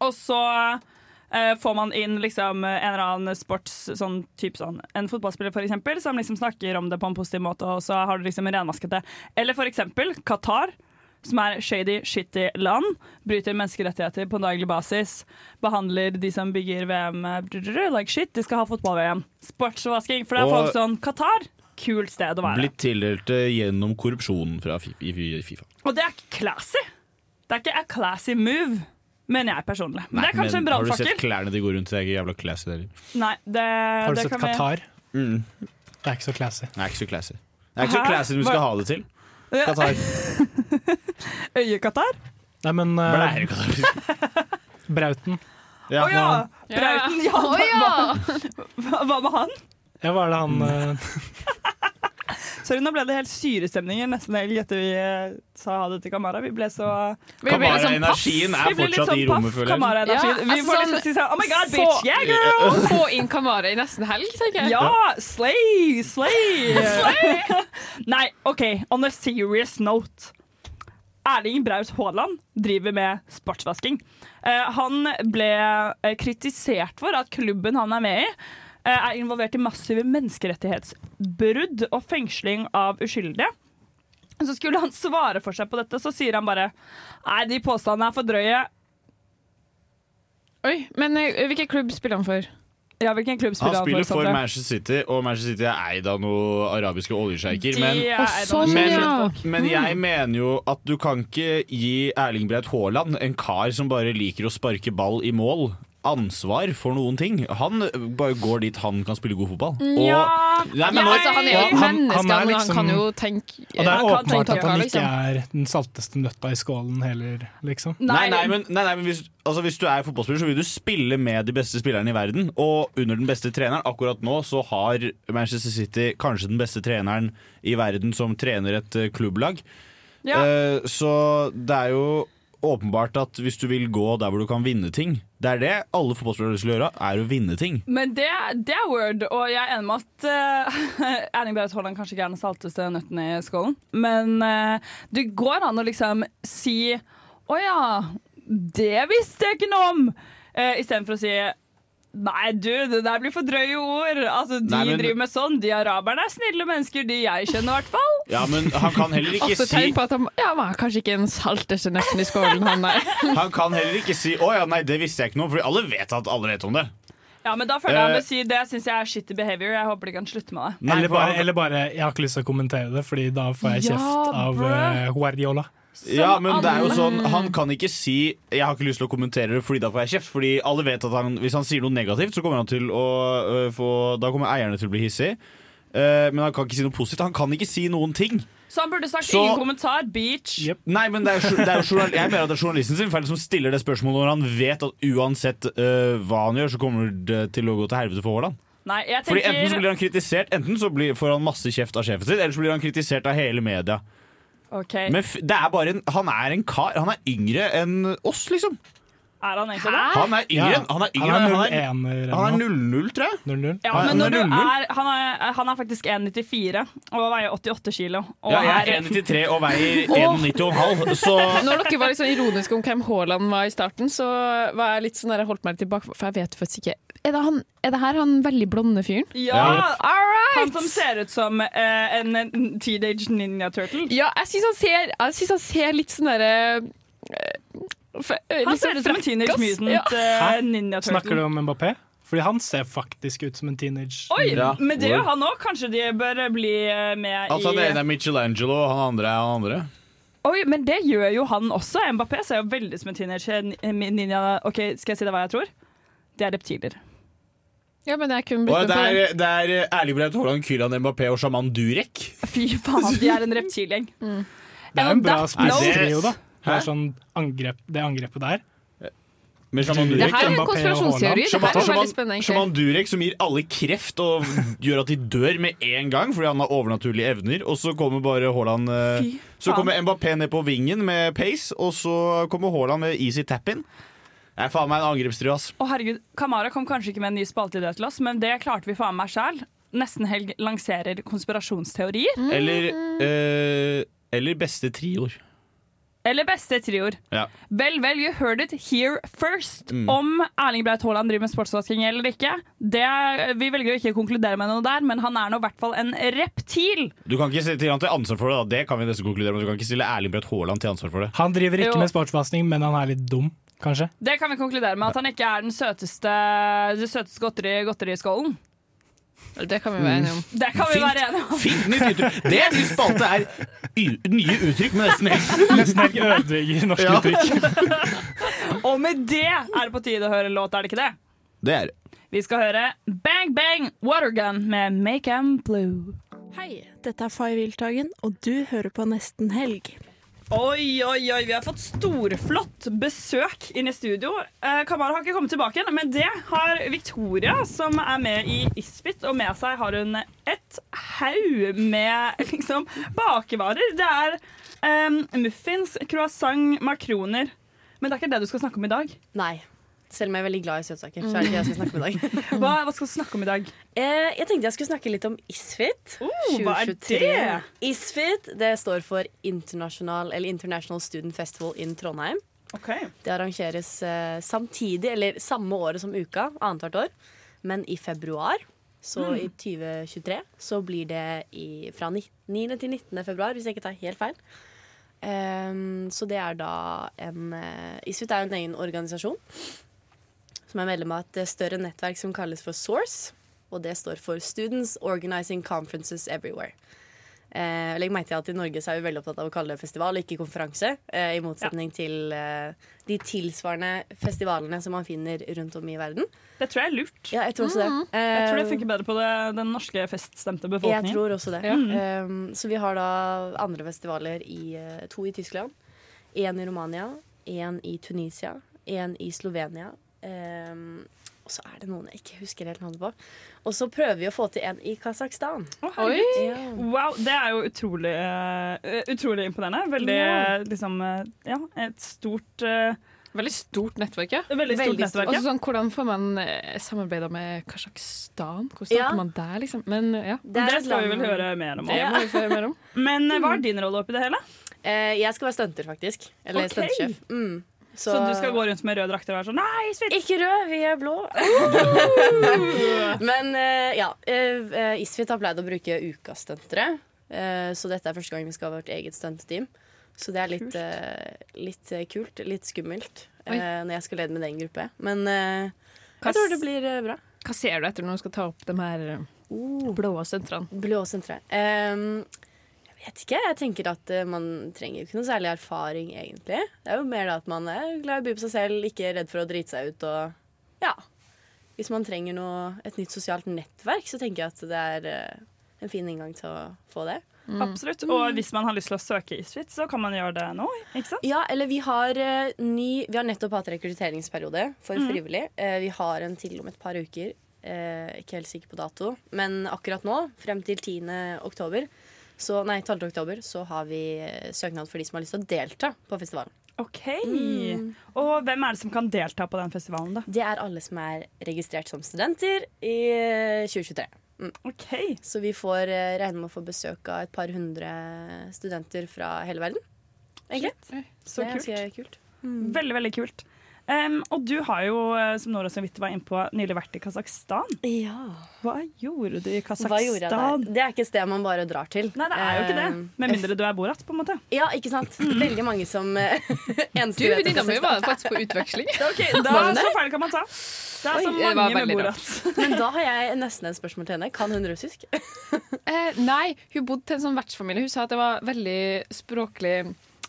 S8: og så eh, får man inn liksom en eller annen sports sånn type sånn En fotballspiller, for eksempel, som liksom snakker om det på en positiv måte, og så har du liksom en renvaskete Eller for eksempel Qatar. Som er shady, shitty land. Bryter menneskerettigheter på en daglig basis. Behandler de som bygger VM eh, drrrr, like shit. De skal ha fotball-VM. Sportsvasking. For det er
S9: Og-
S8: folk sånn Qatar, kult sted å være.
S9: Blitt tildelt eh, gjennom korrupsjon fra Fi- i Fi- Fifa.
S8: Og det er ikke classy. Det er ikke a classy move, mener jeg personlig. Men det er kanskje en
S9: Men Har du sett
S8: brannfakkel.
S9: klærne de går rundt i? Det er ikke jævla classy, det heller.
S8: Nei, det,
S12: Har du
S8: det
S12: sett
S8: kan vi-
S12: Qatar?
S9: Mm.
S12: Det er ikke så classy.
S9: Det er ikke så classy. Det er ikke
S8: Hæ?
S9: så classy du skal ha det til.
S8: Ja.
S9: Qatar.
S8: Øyekatar?
S12: Nei, men eh,
S9: Blærekatar.
S12: Brauten.
S9: Ja.
S8: Å ja! Brauten, ja.
S11: Å ja.
S8: Hva, hva, hva med han?
S12: Ja, hva er det
S9: Mm.
S12: han eh,
S8: Sorry, nå ble det helt syrestemning i nesten helg etter vi eh, sa ha det til Kamara. Vi ble så
S11: Vi ble litt sånn
S8: Vi ble litt sånn paff,
S9: Kamara-energien er fortsatt i rommet,
S11: paff.
S9: føler jeg. Eh,
S8: Kamara-energi. Vi får
S11: altså
S8: liksom si sånn, «Oh my god,
S11: få-
S8: bitch, yeah, girl!»
S11: Få inn Kamara i nesten helg, tenker jeg.
S8: Ja! Slay! Slay! Nei, OK, on a serious note. Erling Braut Haaland driver med sportsvasking. Eh, han ble eh, kritisert for at klubben han er med i, eh, er involvert i massive menneskerettighetsbrudd og fengsling av uskyldige. Så skulle han svare for seg på dette, så sier han bare Nei, de påstandene er for drøye.
S11: Oi, men eh, hvilken klubb spiller han for?
S8: Ja, hvilken klubb
S9: Han
S8: spiller han,
S9: spiller
S8: for?
S9: for
S8: Sondre?
S9: Manchester City, og Manchester City er eid av noen arabiske oljesjeiker.
S8: De
S9: Men,
S8: er eid av-
S9: men, men jeg mener jo at du kan ikke gi Erling Braut Haaland, en kar som bare liker å sparke ball i mål, ansvar for noen ting. Han bare går dit han kan spille god fotball. Og-
S11: Ja,
S9: Nei, men
S11: ja,
S9: når-
S11: altså, han er jo
S12: Ja,
S11: et
S12: han-
S11: menneske,
S12: han er
S11: men han
S12: liksom-
S11: kan jo tenke
S12: Og det er
S11: han kan
S12: åpenbart
S11: tenke
S12: at han
S11: tanker,
S12: ikke
S11: liksom.
S12: er den salteste nøtta i skålen heller, liksom.
S9: Nei, nei, men, nei, nei, men hvis, altså, hvis du er fotballspiller, så vil du spille med de beste spillerne i verden. Og under den beste treneren. Akkurat nå så har Manchester City kanskje den beste treneren i verden som trener et eh, klubblag.
S8: Ja.
S9: Eh, så det er jo åpenbart at hvis du vil gå der hvor du kan vinne ting Det er det alle fotballspillere skal gjøre, er å vinne ting.
S8: Men det, det er word, og jeg er enig med at eh, Erling Braut Haaland kanskje ikke er den salteste nøtten i skålen. Men eh, det går an å liksom si Å ja, det visste jeg ikke noe om! Uh, Istedenfor å si Nei, du, det der blir for drøye ord. Altså, De
S9: Nei, men-
S8: driver med sånn. De araberne er snille mennesker, de jeg kjenner i hvert fall.
S9: Ja, men han kan heller ikke
S11: Altså,
S9: si
S11: tenk på at han, ja, han er kanskje ikke den salteste nøtten i skålen, han der.
S9: Han kan heller ikke si 'Å ja, nei, det visste jeg ikke noe om', for alle vet at alle vet om det.
S8: Ja, men da føler jeg han
S12: Eh.
S8: bør si det. Syns jeg er shitty behavior. Jeg håper de kan slutte med det.
S12: Eller bare, eller bare 'jeg har ikke lyst til å kommentere det', Fordi da får jeg
S8: Ja,
S12: kjeft av
S8: bruh.
S12: eh, Guardiola.
S9: Ja, men det er jo
S12: alle.
S9: sånn Han kan ikke si 'jeg har ikke lyst til å kommentere det', fordi da får jeg kjeft. Fordi alle vet at han, Hvis han sier noe negativt, så kommer han til å øh, få Da kommer eierne til å bli hissig. Eh, men han kan ikke si noe positivt. Han kan ikke si noen ting.
S8: Så han burde sagt
S9: Så-
S8: ingen kommentar. Beach.
S9: Nei, men det er, jo- det er jo journal, Jeg mener at det er journalisten sin feil som stiller det spørsmålet når han vet at uansett øh, hva han gjør, så kommer det til å gå til helvete for Haaland.
S8: Nei, jeg
S9: Fordi
S8: tenker
S9: Enten så blir han kritisert Enten så blir, får han masse kjeft av sjefen sin, eller så blir han kritisert av hele media.
S8: Ok.
S9: Men f det er bare en, han er en kar. Han er yngre enn oss, liksom.
S8: Er han egentlig det?
S9: Han er yngre. enn- Han er yngre.
S12: Han er
S9: enn-
S12: 0-1-er
S9: han er
S12: eller
S9: 0-0, tror jeg.
S8: Ja,
S9: Han-
S8: men når
S9: han
S8: du
S9: er
S8: er,
S9: 0-0.
S8: han, er, han er faktisk 1,94 og veier 88 kilo. Og
S9: Ja, jeg er 1,93 og veier 1,90,5, så
S11: Når dere var litt sånn ironiske om hvem Haaland var i starten, så var jeg litt sånn der, jeg holdt meg litt tilbake, for jeg vet faktisk ikke Er det, han, er det her han veldig blonde fyren?
S8: Ja,
S11: All
S8: Han
S11: right.
S8: som ser ut som eh, en teenage ninja turtle.
S11: Ja, jeg syns han ser Jeg synes han ser litt sånn derre eh,
S8: Han
S11: sånn-
S8: ser ut som en teenage mutant eh, ninja turtle.
S12: Snakker du om Mbappé? Fordi han ser faktisk ut som en teenage.
S8: Oi, men det gjør han òg. Kanskje de bør bli eh, med
S9: Altså Han ene
S8: i
S9: er Michelangelo, og han andre er han andre.
S8: Oi, men det gjør jo han også. Mbappé ser jo eh, veldig ut som en teenager. Ninja, ok, Skal jeg si deg hva jeg tror? Det er reptiler.
S11: Ja, men jeg kunne
S9: Og
S11: blitt med
S9: det
S11: på
S9: er,
S11: det.
S9: det er eh, Erling Braut Haaland, Kylian Mbappé og sjaman Durek.
S8: Fy faen, de er en reptilgjeng.
S12: Det er jo en bra spisstrio, da. Det
S9: Hæ?
S12: er sånn angrep, det angrepet der.
S9: Men Shaman
S12: Du-
S9: Durek
S12: Det her er en
S9: Mbappé og
S12: konspirasjonsteori.
S9: Haaland.
S12: Det her er
S9: Shaman-
S12: veldig
S9: Shaman-
S11: spennende, egentlig.
S9: Shaman Durek som gir alle kreft og gjør at de dør med en gang fordi han har overnaturlige evner. Og så kommer bare Haaland eh,
S11: Fy
S9: Så
S11: faen.
S9: kommer Mbappé ned på vingen med pace, og så kommer Haaland med easy tap-in. Det er faen meg en angrepstrio, ass.
S8: Å herregud, Kamara kom kanskje ikke med en ny spalte i det til oss, men det klarte vi faen meg sjæl. Nesten helg lanserer konspirasjonsteorier.
S9: Eller, eh, eller beste trioer.
S8: Eller beste trioer.
S9: Ja.
S8: Vel, vel, you heard it here first.
S9: Mm.
S8: Om Erling Braut Haaland driver med sportsvasking eller ikke, det, vi velger å ikke konkludere med noe der, men han er nå i hvert fall en reptil.
S9: Du kan ikke stille han til ansvar for det, da. Det kan vi nesten konkludere med. Du kan ikke stille Erling Braut Haaland til ansvar for det.
S12: Han driver ikke
S8: Jo.
S12: med sportsvasking, men han er litt dum, kanskje.
S8: Det kan vi konkludere med, at han ikke er den søteste, det søteste godteri, godteriskålen.
S11: Det kan vi være enige om.
S8: Det kan vi
S9: Fint.
S8: være enige om.
S9: Fint nytt uttrykk. Det er ny spalte er y- nye uttrykk med nesten helt
S12: Nesten helt ødelegger norske
S9: Ja.
S12: uttrykk.
S8: Og med det er det på tide å høre en låt, er det ikke det?
S9: Det er det.
S8: Vi skal høre Bang Bang Watergun med Make 'em Blue.
S14: Hei, dette er Fay Wiltagen, og du hører på Nesten Helg.
S8: Oi, oi, oi, vi har fått storflott besøk inn i studio. Eh, Kamara har ikke kommet tilbake igjen, men det har Victoria, som er med i Isfit. Og med seg har hun et haug med liksom, bakevarer. Det er eh, muffins, croissant, makroner. Men det er ikke det du skal snakke om i dag.
S15: Nei. Selv om jeg er veldig glad i søtsaker, så er det ikke det jeg skal snakke om i dag.
S8: Hva, hva skal du snakke om i dag? Uh,
S15: Eh, jeg tenkte jeg skulle snakke litt om ISFIT.
S8: hva er
S15: 2023.
S8: det?
S15: ISFIT det står for International, eller International Student Festival in Trondheim. Det arrangeres eh, samtidig, eller samme året som uka, annethvert år. Men i februar, så
S16: Mm.
S15: i 2023, så blir det i, fra ni- 9. til 19. februar, hvis jeg ikke tar helt feil. Ehm, så det er da en uh, ISFIT er jo en egen organisasjon som er medlem av et større nettverk som kalles for SOURCE. Og det står for Students Organizing Conferences Everywhere. Eh, legg merke til at I Norge så er vi veldig opptatt av å kalle det festival, ikke konferanse. Eh, I motsetning til eh, de tilsvarende festivalene som man finner rundt om i verden.
S8: Det tror jeg er lurt.
S15: Ja, jeg tror også det.
S8: Mhm. Jeg tror det
S15: Eh,
S8: funker bedre på det, den norske feststemte befolkningen.
S15: jeg tror også det.
S8: Mm.
S15: Um, så vi har da andre festivaler i eh, to i Tyskland, én i Romania, én i Tunisia, én i Slovenia. Um, og så er det noen jeg ikke husker helt navnet på. Og så prøver vi å få til en i Kasakhstan.
S8: Herregud.
S15: Ja.
S8: Wow, det er jo utrolig, eh, utrolig imponerende. Veldig eh, liksom eh, Ja, et stort eh,
S11: Veldig stort nettverk, ja.
S8: Veldig stort nettverk, ja.
S11: Altså, sånn, hvordan får man eh, samarbeida med Kasjokstan? Hvordan starter
S8: Ja.
S11: man der, liksom? Men ja.
S8: Det er Det et skal vi land- vel høre mer om.
S11: Det må vi få høre mer om.
S8: Men eh, hva
S15: Mm.
S8: er din rolle oppi det hele?
S15: Eh, jeg skal være stunter, faktisk. Eller
S8: Ok.
S15: stuntsjef. Mm.
S8: Så, du skal gå rundt med røde drakter og være sånn Nei, svitt!
S15: Ikke rød, vi er blå.
S8: Uh!
S15: Men eh, ja, eh, eh, Isfit har pleid å bruke ukastuntere. eh, så dette er første gang vi skal ha vårt eget stunteteam. Så det er litt, eh, litt eh, kult, litt skummelt, eh,
S11: Oi.
S15: når jeg skal lede med den gruppe. Men eh, jeg tror det blir eh, bra.
S11: Hva ser du etter når du skal ta opp de her eh,
S15: oh.
S11: blå sentrene?
S15: Blå sentre. Ehm, jeg vet ikke. Jeg tenker at eh, man trenger jo ikke noe særlig erfaring, egentlig. Det er jo mer da at man er glad i å by på seg selv, ikke redd for å drite seg ut og Ja. Hvis man trenger noe, et nytt sosialt nettverk, så tenker jeg at det er eh, en fin inngang til å få det.
S8: Absolutt.
S15: Mm.
S8: Og hvis man har lyst til å søke Isfit, så kan man gjøre det nå. Ikke sant?
S15: Ja, eller vi har, eh, ny, vi har nettopp hatt rekrutteringsperiode for
S8: Mhm.
S15: frivillig. Eh, vi har en til om et par uker. Eh, ikke helt sikker på dato. Men akkurat nå, frem til 10. oktober, så, nei, 12. oktober, så har vi eh, søknad for de som har lyst til å delta på festivalen.
S8: OK.
S15: Mm.
S8: Og hvem er det som kan delta på den festivalen, da?
S15: Det er alle som er registrert som studenter i eh, 2023. Mm. Så vi får eh, regne med å få besøk av et par hundre studenter fra hele verden. Egentlig.
S8: Så
S15: det er ganske kult. Mm.
S8: Veldig, veldig kult. Em, og du har jo, eh, som Nora så vidt var inne på, nylig vært i Kasakhstan. Hva gjorde du i Kasakhstan?
S15: Hva gjorde jeg der? Det er ikke et sted man bare drar til.
S8: Nei, det er jo ikke det.
S15: Eh,
S8: Med mindre du er boratt, på en måte.
S15: Ja, ikke sant? Veldig mange som eh, eneste
S11: Du,
S15: vet at
S11: venninna mi
S15: jeg
S11: var
S15: stakk.
S11: faktisk på utveksling.
S8: Ok, da,
S15: Var hun
S8: så
S15: der?
S8: feil kan man ta. Det er
S15: Oi,
S8: så
S15: det var
S8: mange med
S15: veldig
S8: boratt.
S15: Men da har jeg nesten et spørsmål til henne. Kan hun russisk?
S11: Eh, nei, hun bodde til en sånn vertsfamilie. Hun sa at det var veldig språklig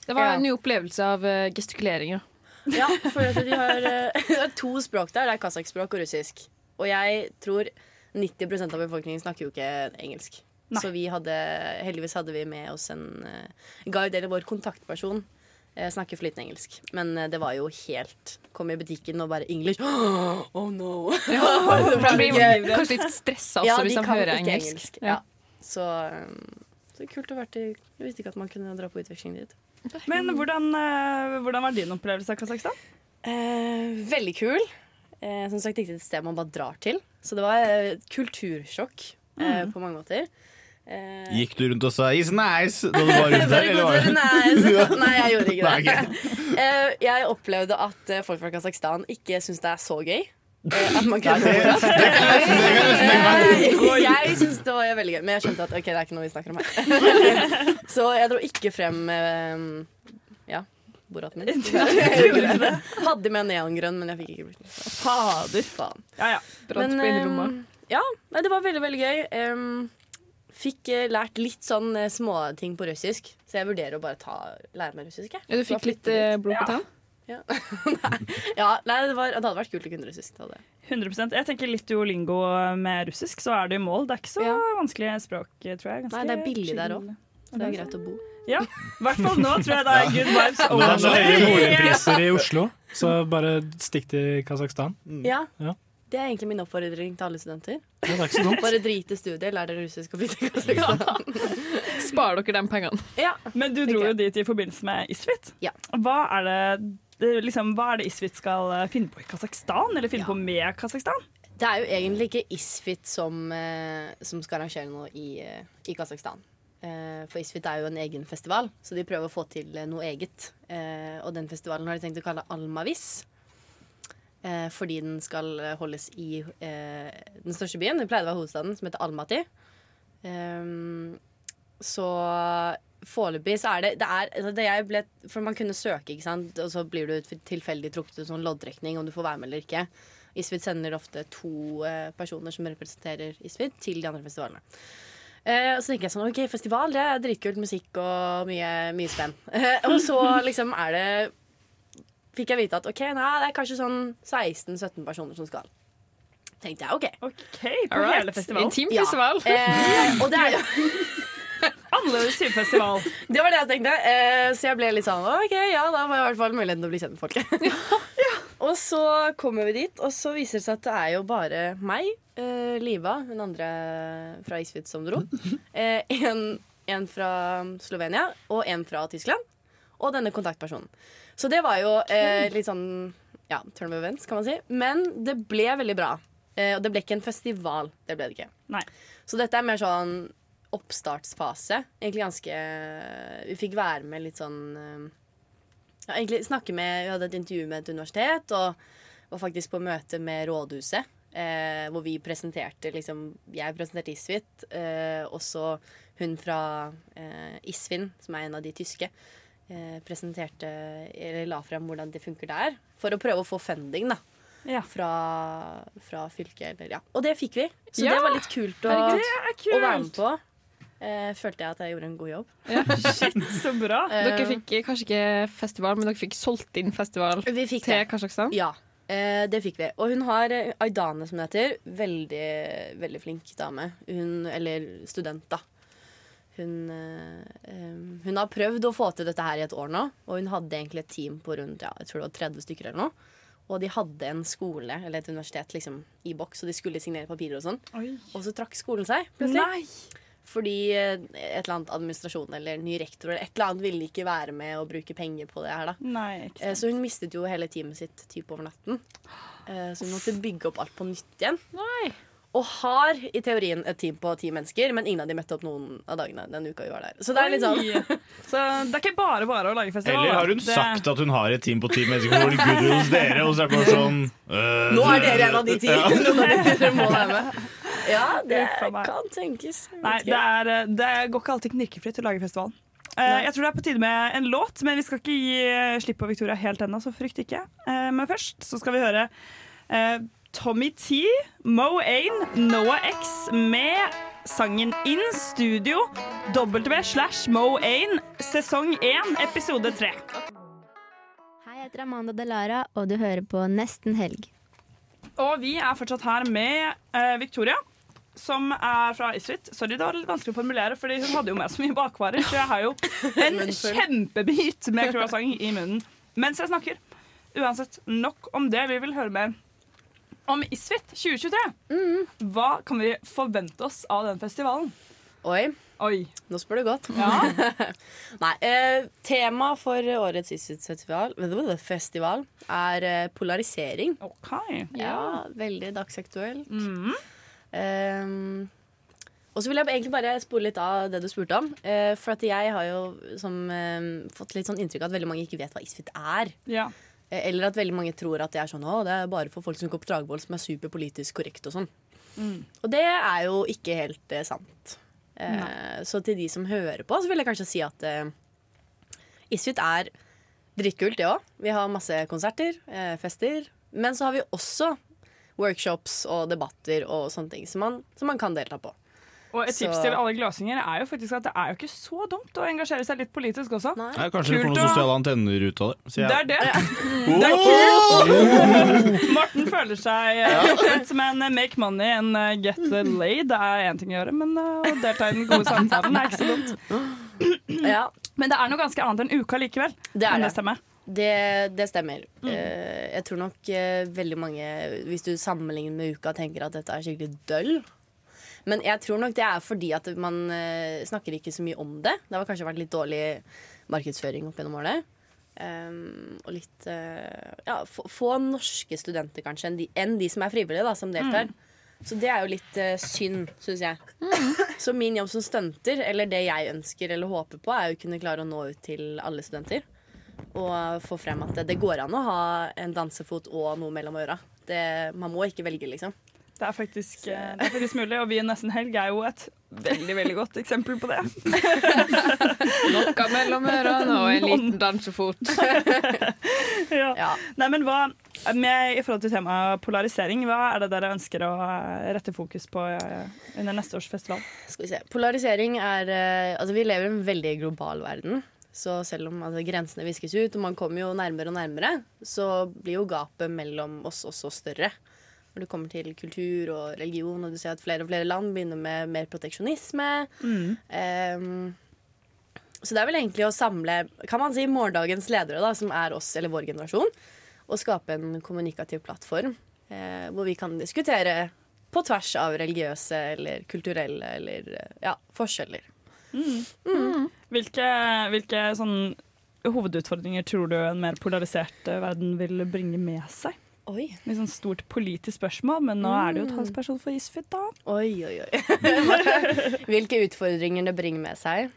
S11: Det var
S15: Ja.
S11: en ny opplevelse av eh, gestikulering. Ja.
S15: Ja, for at de har, eh, de har to språk der. Det er kasakhspråk og russisk. Og jeg tror 90 av befolkningen snakker jo ikke engelsk. Så vi hadde, heldigvis hadde vi med oss en eh, guide, eller vår kontaktperson, eh, snakker flytende engelsk. Men eh, det var jo helt Kom i butikken og bare English. Oh no!
S11: For de blir kanskje litt stressa også
S15: Ja,
S11: hvis de
S15: kan
S11: hører
S15: ikke
S11: engelsk.
S15: Ja.
S11: Ja.
S15: Så, um, så kult å være til Jeg visste ikke at man kunne dra på utveksling dit.
S8: Men hvordan, eh, hvordan var din opplevelse av Kasakhstan?
S15: veldig kul. Eh, som sagt ikke et sted man bare drar til. Så det var eh, et kultursjokk eh, på mange måter. Eh,
S9: Gikk du rundt og sa 'is nice' da du var rundt der?
S15: Very
S9: eller
S15: good,
S9: var det-
S15: very nice. Nei, jeg gjorde ikke
S9: Nei,
S15: det. Eh, jeg opplevde at eh, folk fra Kasakhstan ikke syns det er så gøy. Eh, At man kunne
S9: Nei, det- det kan jeg nesten- det kan jeg nesten tenke
S15: Eh,
S9: meg.
S15: Jeg syns det var veldig gøy, men jeg skjønte at ok, det er ikke noe vi snakker om her. Så jeg dro ikke frem eh, ja, boraten min.
S8: Du gjorde ikke det?
S15: Hadde med neongrønn, men jeg fikk ikke brukt den.
S8: Fader.
S15: Faen.
S8: Ja, ja.
S11: Brant på innerlomma.
S15: ehm, ja, nei, det var veldig, veldig gøy. Ehm, fikk eh, lært litt sånn eh, småting på russisk, så jeg vurderer å bare ta, lære meg russisk. Jeg.
S11: Ja, du fikk
S15: Bare
S11: litt
S15: flytte dit.
S11: eh, blod på tann?
S15: Ja. nei, ja, nei det, var, det hadde vært kult å kunne russisk. Det hadde. jeg.
S8: 100 Jeg tenker litt duolingo med russisk, så er du i mål. Det er ikke så vanskelig språk, tror jeg. Ganske
S15: Nei, det er billig der
S8: chill.
S15: òg. Det er greit å bo.
S8: Ja, i hvert fall nå tror jeg det er good vibes.
S12: Nå er det så høye boligpriser
S8: Ja.
S12: i Oslo, så bare stikk til Kasakhstan.
S15: Ja,
S12: Ja.
S15: Det er egentlig min oppfordring til alle studenter.
S12: Det er ikke så dumt.
S15: Bare drit i studiet, lær dere russisk og flytte til Kasakhstan.
S11: Sparer dere de pengene?
S8: Men du dro jo dit i forbindelse med Isfit. Hva er det det- liksom, hva er det Isfit skal eh, finne på i Kasakhstan, eller finne på med Kasakhstan?
S15: Det er jo egentlig ikke Isfit som, eh, som skal arrangere noe i, eh, i Kasakhstan. Eh, for Isfit er jo en egen festival, så de prøver å få til eh, noe eget. Eh, og den festivalen har de tenkt å kalle Almavis. Eh, fordi den skal eh, holdes i eh, den største byen. Det pleide å være hovedstaden, som heter Almaty. Ehm, så foreløpig så er det, det er, altså det jeg ble, For man kunne søke, ikke sant? og så blir du tilfeldig trukket ut sånn loddtrekning om du får være med eller ikke. Isfit sender ofte to eh, personer som representerer Isfit, til de andre festivalene. Eh, og så tenker jeg sånn, ok, festival, det er dritkult musikk og mye, mye spenn. Eh, og så liksom er det Fikk jeg vite at ok, nei, det er kanskje sånn 16-17 personer som skal. Tenkte jeg, ok.
S8: på
S15: Alright.
S8: hele festivalen.
S15: Intim
S8: Ja.
S15: festival. Eh, og det er jo
S8: Annerledes type festival.
S15: Det var det jeg tenkte. Eh, så jeg ble litt sånn OK, ja, da var jeg i hvert fall muligheten til å bli kjent med folk. Og så kommer vi dit, og så viser det seg at det er jo bare meg, eh, Liva, hun andre fra Isfit som dro, eh, en, en fra Slovenia og en fra Tyskland, og denne kontaktpersonen. Så det var jo eh, litt sånn ja, turn of events, kan man si. Men det ble veldig bra. Eh, og det ble ikke en festival. Det ble det ikke. Så dette er mer sånn oppstartsfase. Egentlig ganske Vi fikk være med litt sånn eh, ja, egentlig snakke med Vi hadde et intervju med et universitet, og var faktisk på møte med Rådhuset. Eh, hvor vi presenterte liksom Jeg presenterte Isfit, eh, og så hun fra eh, Isfin, som er en av de tyske, eh, presenterte Eller la fram hvordan det funker der. For å prøve å få funding, da. Fra, fra fylket, eller ja. Og det fikk vi. Så
S11: Ja!
S15: det var litt kult å,
S11: Herregud, det er
S15: å være
S11: kult!
S15: med på. Eh, følte jeg at jeg gjorde en god jobb.
S8: Shit, så bra.
S11: Dere fikk eh, kanskje ikke festival, men dere fikk solgt inn festival til Kasakhstan?
S15: Ja, eh, det fikk vi. Og hun har eh, Aydane, som det heter. Veldig, veldig flink dame. Hun, eller student, da. Hun, eh, eh, hun har prøvd å få til dette her i et år nå, og hun hadde egentlig et team på rundt ja, jeg tror det var 30 stykker eller noe. Og de hadde en skole eller et universitet liksom, i boks, og de skulle signere papirer og sånn. Og så trakk skolen seg plutselig. Fordi eh, et eller annet administrasjon eller ny rektor eller et eller annet ville ikke være med og bruke penger på det her, da.
S8: Nei, ikke
S15: Eh, Så hun mistet jo hele teamet sitt typ over natten. Eh, Så hun måtte bygge opp alt på nytt igjen. Og har i teorien et team på ti mennesker, men ingen av de møtte opp noen av dagene den uka vi var der. Så det er litt sånn
S8: Oi. Så det er ikke bare bare å lage festival.
S9: Eller har hun
S8: da. Det-
S9: sagt at hun har et team på ti mennesker hvor det er good hos dere, og så er det bare sånn øh,
S15: Nå er dere en av de ti!
S9: Ja.
S15: Dere må være med. Ja, det
S8: Uffa meg.
S15: kan tenkes. Jeg vet
S8: Nei,
S15: ikke.
S8: det, er, eh, det går ikke alltid knirkefritt å lage festivalen. Eh, jeg tror det er på tide med en låt, men vi skal ikke gi eh, slipp på Victoria helt ennå, så frykt ikke. Eh, men først så skal vi høre eh, Tommy T, Mo Ain, Noah X med sangen In Studio W slash Mo Ain, sesong 1, episode 3.
S16: Hei, jeg heter Amanda Delara, og du hører på Nesten helg.
S8: Og vi er fortsatt her med eh, Victoria, som er fra Isfit. Sorry, det var litt vanskelig å formulere, Fordi hun hadde jo med så mye bakvarer. Så jeg har jo en
S15: Munnfull.
S8: kjempebit med croissant i munnen mens jeg snakker. Uansett, nok om det. Vi vil høre mer om Isfit 2023.
S15: Mm.
S8: Hva kan vi forvente oss av den festivalen?
S15: Oi. Nå spør du godt. Nei, eh, tema for årets Isfit-festival festival, er eh, polarisering. Ja, veldig dagsaktuelt. Ehm, og så vil jeg egentlig bare spole litt av det du spurte om. eh, for at jeg har jo som, eh, fått litt sånn inntrykk av at veldig mange ikke vet hva Isfit er.
S8: Ja.
S15: Eh, Eller at veldig mange tror at det er sånn Å, det er bare for folk som går på Dragvoll som er superpolitisk korrekt og sånn. Og det er jo ikke helt eh, sant. Eh, så til de som hører på, så vil jeg kanskje si at eh, Isfit er dritkult, det òg. Vi har masse konserter, eh, fester. Men så har vi også workshops og debatter og sånne ting som man, som man kan delta på.
S8: Og et tips
S15: Så-
S8: til alle gløsinger er jo faktisk at det er jo ikke så dumt å engasjere seg litt politisk også.
S9: Nei, kanskje vi får noen
S8: å-
S9: sosiale antenner ut av det. sier jeg.
S8: Det er det.
S9: Oh!
S8: Det er kult. Marten føler seg eh, litt som en eh, make money and eh, get eh, laid. Det er én ting å gjøre, men eh, å delta i den gode samtalen er ikke så dumt. Men det er noe ganske annet enn uka likevel.
S15: Det er
S8: Om
S15: det.
S8: det stemmer.
S15: Det, det stemmer. Eh, jeg tror nok eh, veldig mange, hvis du sammenligner med uka, tenker at dette er skikkelig døll. Men jeg tror nok det er fordi at man eh, snakker ikke så mye om det. Det har kanskje vært litt dårlig markedsføring opp gjennom årene. Ehm, og litt eh, Ja, få, få norske studenter, kanskje, enn de, enn de som er frivillige, da, som deltar. Så det er jo litt eh, synd, syns jeg. Så min jobb som stunter, eller det jeg ønsker eller håper på, er jo å kunne klare å nå ut til alle studenter. Og få frem at det, det går an å ha en dansefot og noe mellom øra. Det, man må ikke velge, liksom.
S8: Det er faktisk, eh, det er faktisk mulig, og Vi i Nesten Helg er jo et veldig veldig godt eksempel på det.
S11: Noe mellom ørene og en liten dansefot.
S8: ja. Nei, men hva, med, I forhold til temaet polarisering, hva er det dere ønsker å eh, rette fokus på eh, under neste års festival?
S15: Skal vi se. Polarisering er eh, Altså, vi lever i en veldig global verden. Så selv om altså, grensene viskes ut, og man kommer jo nærmere og nærmere, så blir jo gapet mellom oss også større. Når det kommer til kultur og religion, og du ser at flere og flere land begynner med mer proteksjonisme. Ehm, så det er vel egentlig å samle kan man si, morgendagens ledere, da, som er oss eller vår generasjon, og skape en kommunikativ plattform eh, hvor vi kan diskutere på tvers av religiøse eller kulturelle eller eh, ja, forskjeller.
S8: Hvilke, hvilke sånn hovedutfordringer tror du en mer polarisert eh, verden vil bringe med seg?
S15: Oi.
S8: Litt sånn stort politisk spørsmål, men nå er det jo talsperson for Isfit, da.
S15: Oi, oi, oi. Hvilke utfordringer det bringer med seg.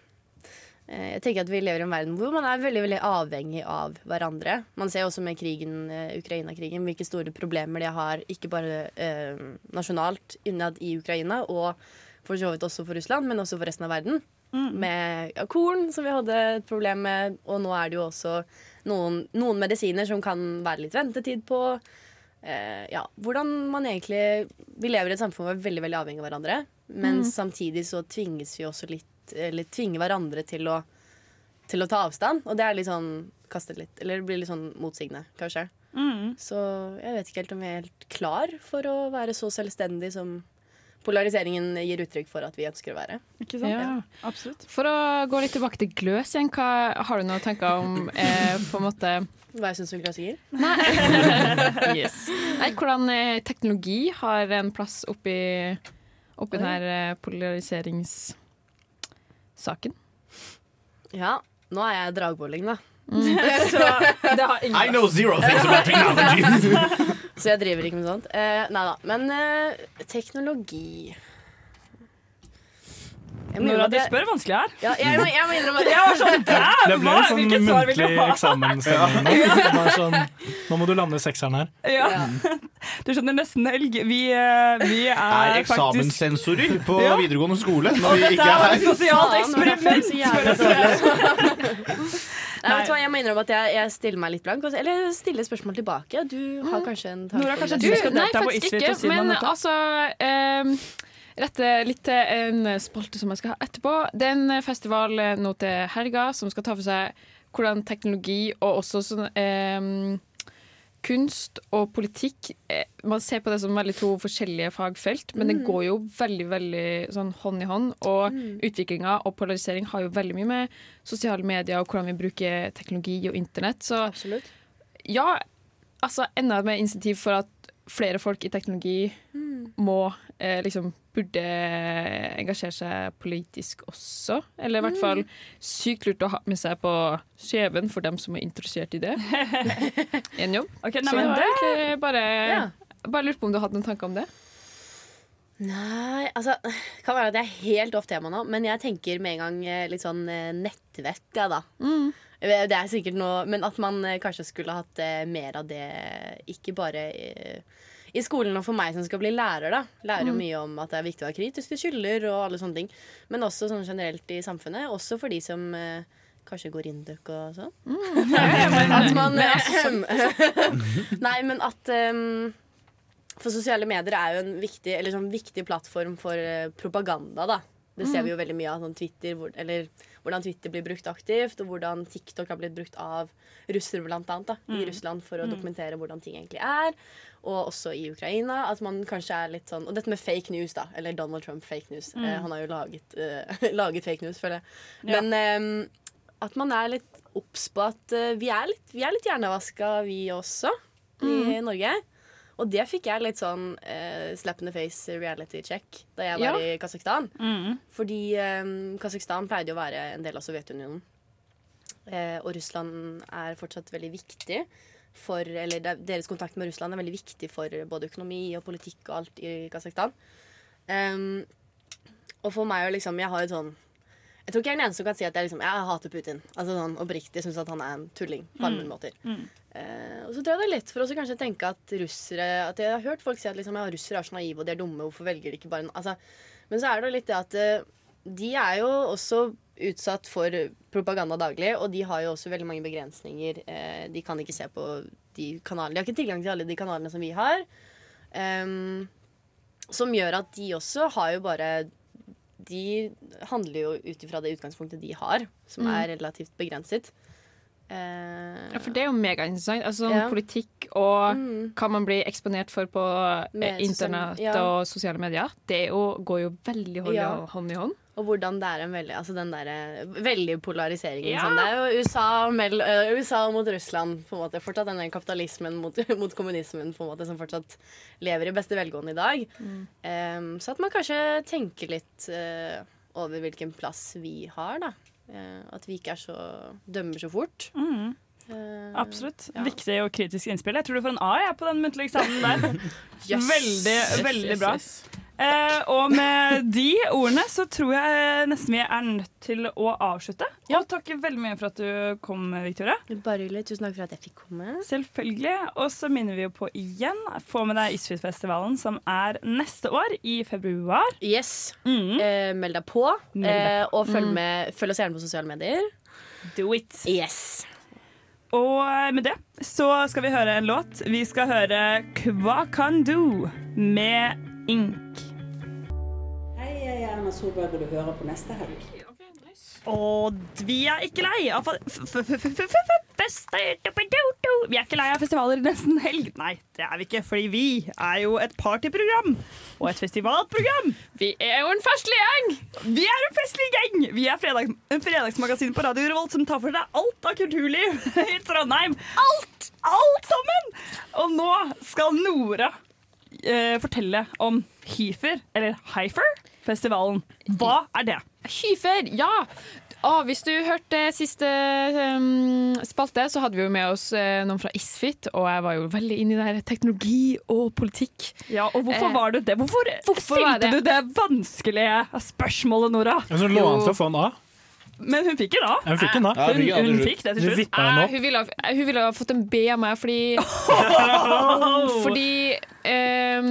S15: Eh, Jeg tenker at Vi lever i en verden hvor man er veldig veldig avhengig av hverandre. Man ser også med krigen, eh, Ukraina-krigen hvilke store problemer de har, ikke bare eh, nasjonalt innad i Ukraina, og for så vidt også for Russland, men også for resten av verden. Med ja, korn, som vi hadde et problem med, og nå er det jo også noen, noen medisiner som kan være litt ventetid på. Eh, ja, hvordan man egentlig Vi lever i et samfunn hvor vi er veldig veldig avhengig av hverandre. Men
S11: Mm.
S15: samtidig så tvinges vi også litt Eller tvinger hverandre til å, til å ta avstand. Og det er litt sånn kastet litt Eller det blir litt sånn motsigende, kanskje. Så jeg vet ikke helt om jeg er helt klar for å være så selvstendig som polariseringen gir uttrykk for at vi ønsker å være.
S8: Ikke
S11: sant? Ja.
S8: Absolutt.
S11: For å gå litt tilbake til gløs igjen, hva har du noen tanker om eh, på en måte
S15: Hva jeg syns om gløsinger?
S11: yes. Nei, Hvordan eh, teknologi har en plass oppi, oppi
S15: Oi.
S11: eh, denne polariseringssaken?
S15: Ja, nå er jeg dragbolling, da.
S11: Så
S15: det har
S9: I know zero things about technology.
S15: Så jeg driver ikke med sånt. Eh, nei da. Men eh, teknologi Jeg må
S8: Nora,
S15: innrømme at
S8: du
S15: jeg-
S8: spør vanskelig her.
S15: Ja, jeg, må- jeg må innrømme at
S8: Jeg var sånn, damn!
S12: Det ble
S8: hva-
S12: litt sånn
S8: hvilket svar vil du
S12: muntlig
S8: ha?
S12: eksamensstemning. nå. Det var Sånn, nå må du lande sekseren her.
S8: Ja. Du skjønner, nesten helg. Vi, eh, vi er,
S9: Er
S8: faktisk
S9: eksamenssensorer på
S8: Ja.
S9: videregående skole
S8: Og
S9: når vi
S8: dette
S9: ikke
S8: er
S9: er
S8: et
S9: her?
S8: sosialt
S15: Faen, Nora, det er
S8: eksperiment!
S15: så
S8: føler jeg.
S15: jævlig Nei, vet du hva, jeg må innrømme at jeg, jeg stiller meg litt blank. og så- Eller jeg stiller spørsmål tilbake. Du har Mm. kanskje en tanke
S8: Nora,
S15: om
S8: kanskje
S15: det?
S8: du skal
S11: Nei,
S8: delta på
S11: faktisk
S8: Isfit
S11: ikke,
S8: og si noe om
S11: men
S8: dette?
S11: altså ehm, Rette litt til en spalte som jeg skal ha etterpå. Det er en festival eh, nå til helga som skal ta for seg hvordan teknologi og også sånn ehm, kunst og politikk eh, Man ser på det som veldig to forskjellige fagfelt, men det
S16: Mm.
S11: går jo veldig veldig sånn hånd i hånd. Og utviklinga og polarisering har jo veldig mye med sosiale medier og hvordan vi bruker teknologi og internett. Så ja, altså enda et mer insentiv for at flere folk i teknologi
S14: Mm.
S11: må eh, liksom burde eh, engasjere seg politisk også. Eller i hvert
S14: Mm.
S11: fall sykt lurt å ha med seg på skjeven for dem som er interessert i det. En jobb.
S8: nei,
S11: Så
S8: men
S11: jeg har
S8: det-
S11: egentlig bare,
S15: Ja.
S11: bare lurt på om du hadde noen tanker om det.
S15: Nei, altså Kan være at jeg er helt off tema nå, men jeg tenker med en gang eh, litt sånn eh, nettvett, jeg, da. Eh, Det er sikkert noe Men at man eh, kanskje skulle hatt eh, mer av det, ikke bare eh, i skolen og for meg som skal bli lærer, da. Lærer jo
S11: Mm.
S15: mye om at det er viktig å være kritisk til skylder og alle sånne ting. Men også sånn generelt i samfunnet. Også for de som eh, kanskje går induk og sånn. at man eh, altså, sånn-
S11: Nei.
S15: Nei, men at ehm, for sosiale medier er jo en viktig, eller sånn viktig plattform for eh, propaganda, da. Det ser
S11: Mm.
S15: vi jo veldig mye av sånn Twitter, hvor, eller hvordan Twitter blir brukt aktivt, og hvordan TikTok har blitt brukt av russere, blant annet, da, i
S11: Mm.
S15: Russland for å
S11: Mm.
S15: dokumentere hvordan ting egentlig er. Og også i Ukraina. At man kanskje er litt sånn Og dette med fake news, da. Eller Donald Trump fake news.
S11: Mm.
S15: Eh, han har jo laget, eh, laget fake news, føler jeg.
S11: Ja.
S15: Men ehm, at man er litt obs på at eh, vi er litt, vi er litt hjernevaska, vi også, i
S11: Mm.
S15: Norge. Og det fikk jeg litt sånn eh, slap in the face reality check da jeg var
S11: Ja.
S15: i Kasakhstan.
S8: Mm,
S15: Fordi eh, Kasakhstan pleide jo å være en del av Sovjetunionen. Eh, og Russland er fortsatt veldig viktig for Eller det, er- deres kontakt med Russland er veldig viktig for både økonomi og politikk og alt i Kasakhstan. Ehm, og for meg er det liksom Jeg har jo sånn Jeg tror ikke jeg er den eneste som kan si at jeg, liksom, jeg hater Putin. Altså sånn oppriktig syns at han er en tulling på alle
S11: Mm.
S15: mulige måter. Eh, og så tror jeg det er lett for oss å kanskje tenke at russere At jeg har hørt folk si at liksom, ja, russere er så naive og de er dumme, hvorfor velger de ikke bare en altså, Men så er det jo litt det at eh, de er jo også utsatt for propaganda daglig, og de har jo også veldig mange begrensninger. Eh, de kan ikke se på de kanalene De har ikke tilgang til alle de kanalene som vi har. Ehm, som gjør at de også har jo bare De handler jo ut ifra det utgangspunktet de har, som
S11: Mm.
S15: er relativt begrenset. Eh,
S11: Ja, for det er jo megainteressant. Altså, sånn
S15: Ja. Mm.
S11: Politikk og hva man blir eksponert for på eh,
S15: Med sosiale-
S11: internett
S15: ja.
S11: og sosiale medier, det er jo, går jo veldig hånd i
S15: Ja.
S11: hånd. i hånd.
S15: Og hvordan det er en veldig, altså den derre veldig polariseringen.
S11: Ja.
S15: Sånn. Det er jo USA, mell, eh, USA mot Russland, på en måte. Fortsatt den der kapitalismen mot, mot kommunismen, på en måte, som fortsatt lever i beste velgående i dag.
S8: Mm.
S15: Ehm, så at man kanskje tenker litt eh, over hvilken plass vi har, da. Eh, at vi ikke er så dømmer så fort.
S8: Mm.
S15: Eh,
S8: Absolutt. Viktig og kritisk innspill. Jeg tror du får en A jeg, på den muntlige eksamen der.
S15: Yes.
S8: Veldig,
S15: Yes,
S8: veldig
S15: yes,
S8: bra.
S15: yes.
S8: Eh, og med de ordene så tror jeg nesten vi er nødt til å avslutte. Og takke veldig mye for at du kom, Victoria.
S15: Bare hyggelig. Tusen takk for at jeg fikk komme.
S8: Selvfølgelig. Og så minner vi jo på igjen. Få med deg Isfjordfestivalen, som er neste år, i februar.
S15: Yes.
S8: Mm.
S15: Eh, meld deg på. Eh, og følg, med, følg oss gjerne på sosiale medier.
S8: Do it.
S15: Yes.
S8: Og med det så skal vi høre en låt. Vi skal høre Hva kan du med Ink.
S2: Hei, jeg er Erna Solberg, og du hører på neste helg.
S8: Og vi er ikke lei av fa- f- f- f- f- f- f- fester. Du-ba-du-du. Vi er ikke lei av festivaler nesten helg. Nei, det er vi ikke, fordi vi er jo et partyprogram. Og et festivalprogram.
S11: Vi er jo en festlig gjeng!
S8: Vi er en festlig gjeng! Vi er fredag, en fredagsmagasin på Radio Revolt som tar for deg alt av kulturliv i Trondheim. Alt! Alt sammen! Og nå skal Nora eh, fortelle om Hifer, eller Hifer-festivalen. Hva er det?
S11: Hyfer, ja! Å, hvis du hørte siste um, spalte, så hadde vi jo med oss eh, noen fra Isfit, og jeg var jo veldig inne i det her teknologi og politikk.
S8: Ja, og hvorfor var du det? Eh, Hvorfor,
S11: var
S8: stilte
S11: det?
S8: du det vanskelige spørsmålet, Nora?
S12: Altså, lå an til å få en A.
S8: Men hun fikk det da.
S12: Hun fikk en A. Ja, hun
S8: Hun,
S12: fikk en A til
S8: hun
S12: slutt.
S8: fikk det
S12: Du
S8: til slutt.
S12: vippa henne
S11: Eh,
S12: opp.
S11: hun, ville, ha- hun ville ha fått en B av meg fordi Fordi ehm,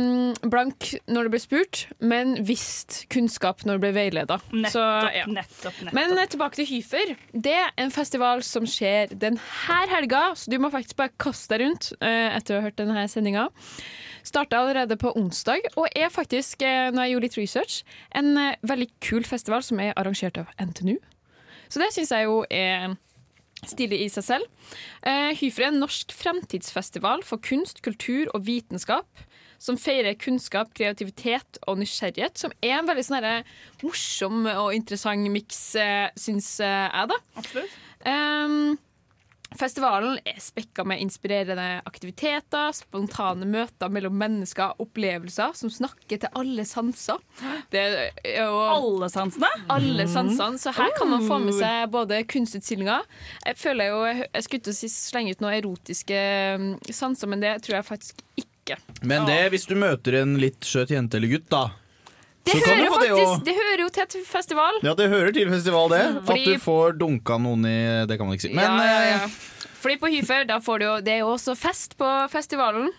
S11: blank når det ble spurt, men visst kunnskap når det ble veileda.
S8: Nettopp,
S11: Så, ja.
S8: nettopp, nettopp.
S11: Men eh, tilbake til Hyfer. Det er en festival som skjer denne helga, så du må faktisk bare kaste deg rundt eh, etter å ha hørt denne sendinga. Starta allerede på onsdag, og er faktisk, eh, når jeg gjorde litt research, en eh, veldig kul festival som er arrangert av NTNU. Så det syns jeg jo er Stilig i seg selv. Eh, Hyfri er en norsk fremtidsfestival for kunst, kultur og vitenskap. Som feirer kunnskap, kreativitet og nysgjerrighet. Som er en veldig sånn herre morsom og interessant miks, eh, syns eh, jeg, da.
S8: Absolutt.
S11: Ehm, festivalen er spekka med inspirerende aktiviteter, spontane møter mellom mennesker, opplevelser som snakker til alle sanser. Det er jo
S8: Alle sansene?
S11: Alle
S8: Mhm.
S11: sansene, så her kan man få med
S8: Oh.
S11: seg eh, både kunstutstillinger Jeg føler jo, jeg jeg skulle til å si slenge ut noen erotiske mm, sanser, men det tror jeg faktisk ikke.
S9: Men det, hvis du møter en litt søt jente eller gutt, da
S11: Det,
S9: så kan
S11: hører,
S9: du
S11: jo
S9: få det
S11: faktisk,
S9: jo.
S11: det hører jo til et festival.
S9: Ja, det hører til festival, det. At
S11: Fordi-
S9: du får dunka noen i Det kan man ikke si. Men eh,
S11: ja, ja, ja. Fordi på Hyfer, da får du jo Det er jo også fest på festivalen.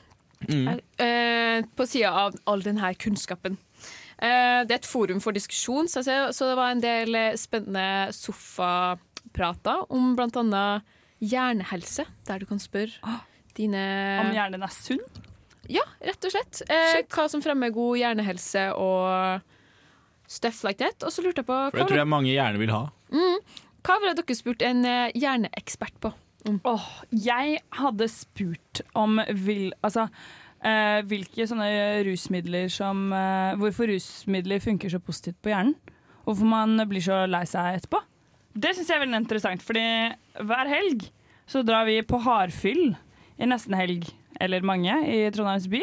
S9: Mm.
S11: Eh, på sida av all denne kunnskapen. Eh, det er et forum for diskusjon, så, jeg ser- så det var en del eh, spennende sofaprater om bl.a. hjernehelse, der du kan
S9: Ah.
S11: spørre dine
S8: Om hjernen er sunn?
S11: Ja, rett og slett. Eh, hva som fremmer god hjernehelse og stuff like that. Og så lurte jeg på
S9: For det tror jeg mange gjerne vil ha.
S11: Mm. Hva ville dere spurt en eh, hjerneekspert på?
S8: Åh, jeg hadde spurt om vil, altså, eh, hvilke sånne rusmidler som eh, Hvorfor rusmidler funker så positivt på hjernen. og Hvorfor man blir så lei seg etterpå. Det syns jeg er veldig interessant, fordi hver helg så drar vi på hardfyll i nesten helg, eller mange, i Trondheims by.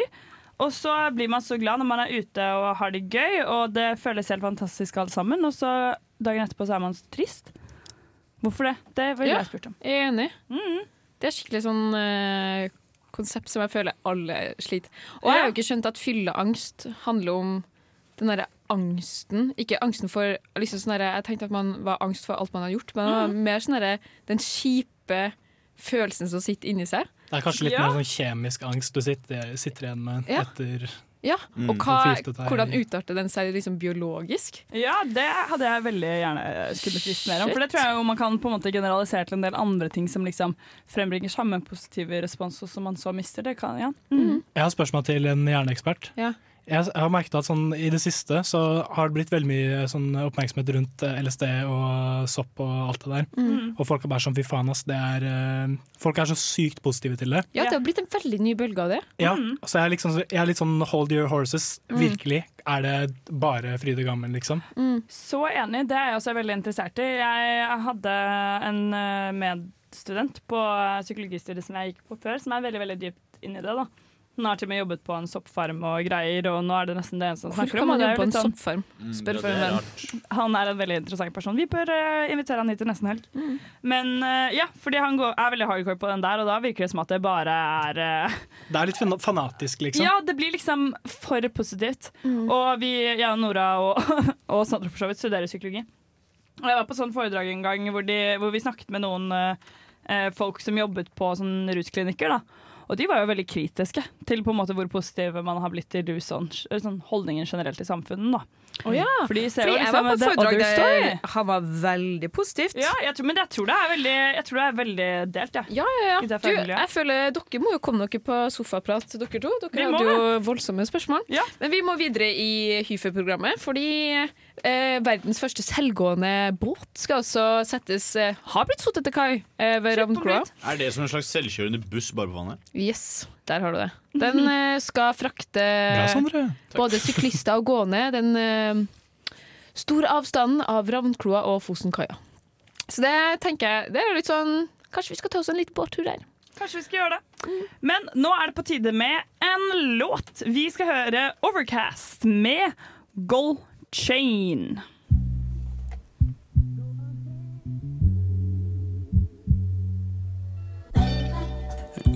S8: Og så blir man så glad når man er ute og har det gøy, og det føles helt fantastisk alt sammen. Og så dagen etterpå så er man så trist. Hvorfor det? Det ville jeg spurt om.
S11: Jeg er enig. Det er skikkelig sånn eh, konsept som jeg føler alle sliter. Og jeg har jo ikke skjønt at fylleangst handler om den derre angsten. Ikke angsten for liksom sånn derre- Jeg tenkte at man var angst for alt man har gjort, men det var mer sånn derre den kjipe følelsen som sitter inni seg.
S12: Det er kanskje litt
S11: Ja.
S12: mer sånn kjemisk angst du sitter, sitter igjen med
S11: Ja.
S12: etter
S11: Ja,
S12: Mm.
S11: og hva,
S12: Konfliktet her.
S11: hvordan utarter den seg liksom biologisk?
S8: Ja, det hadde jeg veldig gjerne skulle spist mer om. For det tror jeg jo man kan på en måte generalisere til en del andre ting som liksom frembringer samme positive respons, og som man så mister. Det kan, ja.
S12: Jeg har spørsmål til en hjerneekspert.
S11: Ja.
S12: Jeg jeg har merket at sånn, I det siste så har det blitt veldig mye sånn, oppmerksomhet rundt eh, LSD og sopp og alt det der.
S11: Mm.
S12: Og folk er bare sånn fy faen, ass. Det er, eh, folk er så sykt positive til det.
S11: Ja, Mm. det har blitt en veldig ny bølge av det.
S12: Ja, så jeg er, liksom, jeg er litt sånn hold your horses.
S11: Mm.
S12: Virkelig. Er det bare fryd og gammen, liksom?
S8: Så enig. Det er jeg også veldig interessert i. Jeg hadde en eh, medstudent på eh, psykologistudiet som jeg gikk på før, som er veldig veldig dypt inni det. da. Hun har til og med jobbet på en soppfarm og greier, og nå er det nesten det eneste han
S11: Hvorfor
S8: snakker
S11: kan
S8: om. og
S11: man
S8: det er
S11: jobbe på en
S8: litt sånn-
S11: soppfarm?
S9: Mm,
S11: Spør
S9: ja,
S11: for
S9: det
S11: en
S9: er
S11: venn.
S8: Han er en veldig interessant person. Vi bør eh, invitere han hit til nesten helg. Men eh, ja, fordi han går, er veldig hardcore på den der, og da virker det som at det bare er eh,
S12: Det er litt fan- fanatisk, liksom.
S8: Ja, det blir liksom for positivt.
S11: Mm.
S8: Og vi, jeg og Nora og, og Sandra for så vidt studerer psykologi. Og jeg var på sånn foredrag en gang hvor, de, hvor vi snakket med noen eh, folk som jobbet på sånn rusklinikker. da. Og de var jo veldig kritiske til på en måte hvor positive man har blitt til rus og sånn holdningen generelt i samfunnet. da.
S11: Å ja.
S8: For de ser
S11: Fordi
S8: jo
S11: jeg
S8: liksom
S11: var på et
S8: the
S11: foredrag
S8: other
S11: der
S8: story.
S11: han var veldig positivt.
S8: Ja, jeg tror, men jeg tror det er veldig, jeg tror det er veldig delt, jeg.
S11: Ja, ja,
S8: I
S11: ja.
S8: det
S11: Du,
S8: fagmiljøet.
S11: jeg føler dere må jo komme dere på sofaprat, dere
S8: Vi
S11: to. Dere
S8: må
S11: hadde jo voldsomme spørsmål. Men vi må videre i Hyfer-programmet, fordi eh, verdens første selvgående båt skal også settes eh, Har blitt satt til kai eh, ved Ravnkloa.
S9: Er det som en slags selvkjørende buss bare på vannet?
S11: Yes, der har du det. Den
S8: Mhm.
S11: eh, skal frakte
S9: Bra, Sondre.
S11: både syklister og gående den eh, store avstanden av Ravnkloa og Fosenkaia. Så det tenker jeg Det er jo litt sånn Kanskje vi skal ta oss en liten båttur der.
S8: Kanskje vi skal gjøre det. Men nå er det på tide med en låt. Vi skal høre Overcast med Gold Chain.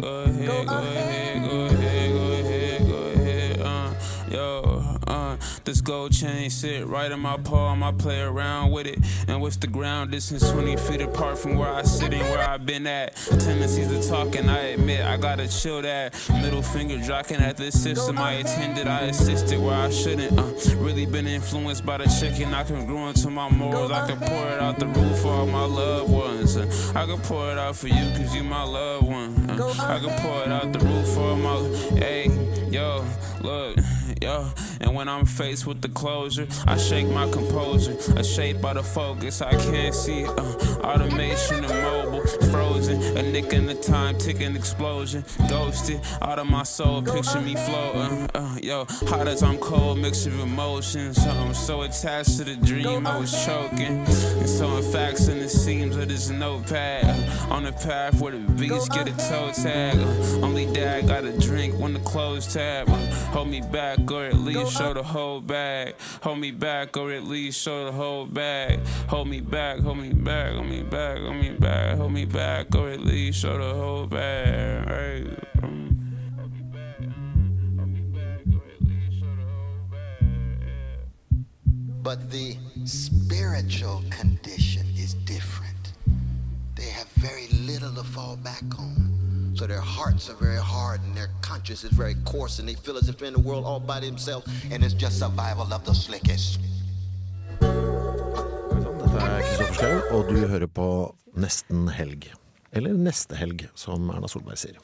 S16: Go ahead, go ahead, go ahead, go ahead, go ahead. Uh, yo, uh, this gold chain sit right in my palm. I play around with it, and with the ground distance 20 feet apart from where I sit and where I've been at. Tendencies to talk, and I admit I gotta chill that. Middle finger jocking at this system I attended. I assisted where I shouldn't. Uh, really been influenced by the chicken. I congruent to my morals. I could pour it out the roof for all my loved ones. Uh, I could pour it out for you, cause you my loved one. Uh, I could pour it out the roof for all my. Hey, yo, look. yeah. And when I'm faced with the closure, I shake my composure. A shape out of focus, I can't see. Uh, automation immobile, frozen. A nick in the time, ticking explosion. Ghosted out of my soul, picture me floating. Uh, yo, hot as I'm cold, mixture of emotions. uh, I'm so attached to the dream, I was choking. And so in facts in the seams of this notepad. Uh, on the path where the beats get a toe tag. Uh, only dad got a drink when the clothes tab. Uh, hold me back or at least show the whole bag. Hold me back or at least show the whole bag. Hold me back, hold me back, hold me back, hold me back, hold me back or at least show the whole bag. Right. Mm.
S17: But the spiritual condition is different. They have very little to fall back on. So their hearts are very hard and their conscience is very coarse and they feel as if they're in the world all by themselves and it's just survival of the slickest.
S18: Dette er Kristoffer Schau, og du hører på Nesten helg. Eller Neste helg, som Erna Solberg sier.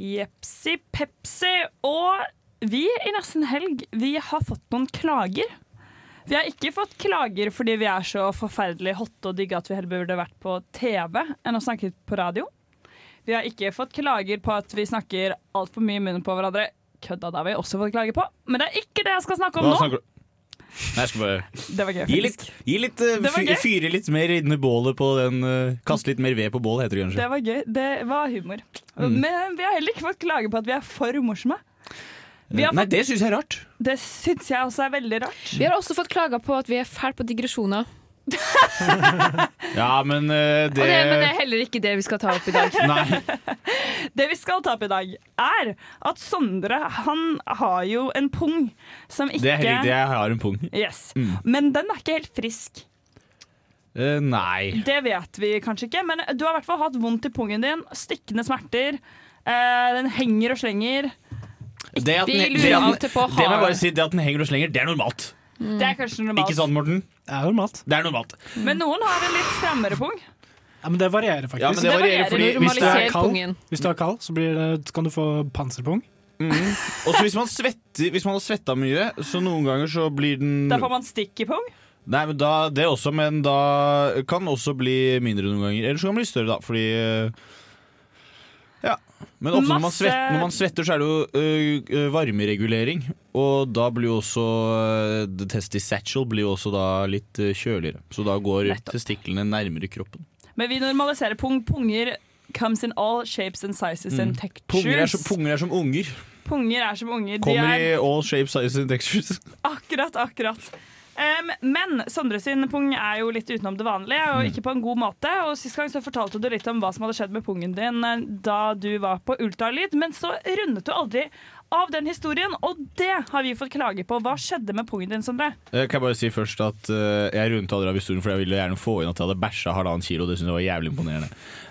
S8: Jepsi pepsi. Og vi i Nesten Helg, vi har fått noen klager. Vi har ikke fått klager fordi vi er så forferdelig hotte og digge at vi heller burde vært på TV enn å snakke på radio. Vi har ikke fått klager på at vi snakker altfor mye i munnen på hverandre. Kødda, det har vi også fått klager på, men det er ikke det jeg skal snakke om
S9: Hva
S8: nå.
S9: snakker du Nei, jeg skal bare
S8: Det var gøy,
S9: Gi
S8: faktisk.
S9: litt, gi litt eh,
S8: Det var
S9: fy-
S8: gøy.
S9: Fyre litt mer inni bålet på den eh, Kaste litt mer ved på bålet, heter det kanskje.
S8: Det var gøy. Det var humor.
S9: Mm.
S8: Men vi har heller ikke fått klager på at vi er for morsomme. Vi har
S9: Nei,
S8: fått-
S9: det syns jeg er rart.
S8: Det syns jeg også er veldig rart.
S11: Vi har også fått klager på at vi er fæle på digresjoner.
S9: Ja, men eh, det,
S11: Og det, men det er heller ikke det vi skal ta opp i dag.
S9: Nei.
S8: Det vi skal ta opp i dag, er at Sondre han har jo en pung som ikke
S9: Det er helt riktig, jeg har en pung.
S8: Yes.
S9: Mm.
S8: Men den er ikke helt frisk.
S9: Eh, nei.
S8: Det vet vi kanskje ikke, men du har i hvert fall hatt vondt i pungen din. Stikkende smerter. eh, den henger og slenger.
S9: Det at
S8: Vi
S9: den,
S8: lurer
S9: det at
S8: alltid
S9: den,
S8: på
S9: det må jeg
S8: har-
S9: bare si, det at den henger og slenger, det er normalt.
S8: Det er kanskje normalt.
S9: Ikke sånn. sant, Morten? Det er normalt. Det er normalt.
S8: Men noen har en litt strammere pung.
S12: Ja, men det varierer faktisk.
S9: Ja, men det Det varierer, varierer. fordi hvis du er Normaliser kald- pungen.
S12: hvis du er kald, så blir det, kan du få panserpung.
S9: Og så hvis man svetter Hvis man har svetta mye, så noen ganger så blir den
S8: Da får man stikk i pung.
S9: Nei, men da, Det også, men da kan den også bli mindre noen ganger. Eller så kan den bli større, da, fordi eh, Ja. Men ofte når man,
S8: Masse-
S9: svetter, når man svetter, så er det jo eh, eh, varmeregulering. Og da blir jo også eh, The testisatchel blir jo også da litt eh, kjøligere. Så da går testiklene nærmere kroppen.
S8: Men vi normaliserer pung. Punger comes in all shapes and sizes and textures.
S9: Mm. Punger, er som, punger er som unger.
S8: Punger er som unger. De
S9: Kommer
S8: er
S9: i all shapes, sizes and textures.
S8: Akkurat, akkurat. Em, men Sondre sin pung er jo litt utenom det vanlige,
S9: Mm.
S8: og ikke på en god måte. Og Sist gang så fortalte du litt om hva som hadde skjedd med pungen din eh, da du var på ultralyd, men så rundet du aldri av den historien, og det har vi fått klage på. Hva skjedde med pungen din, Sondre?
S9: Eh, Kan jeg bare si først at eh, Jeg rundet aldri av historien, for jeg ville gjerne få inn at jeg hadde bæsja halvannen kilo. Det synes jeg var jævlig imponerende.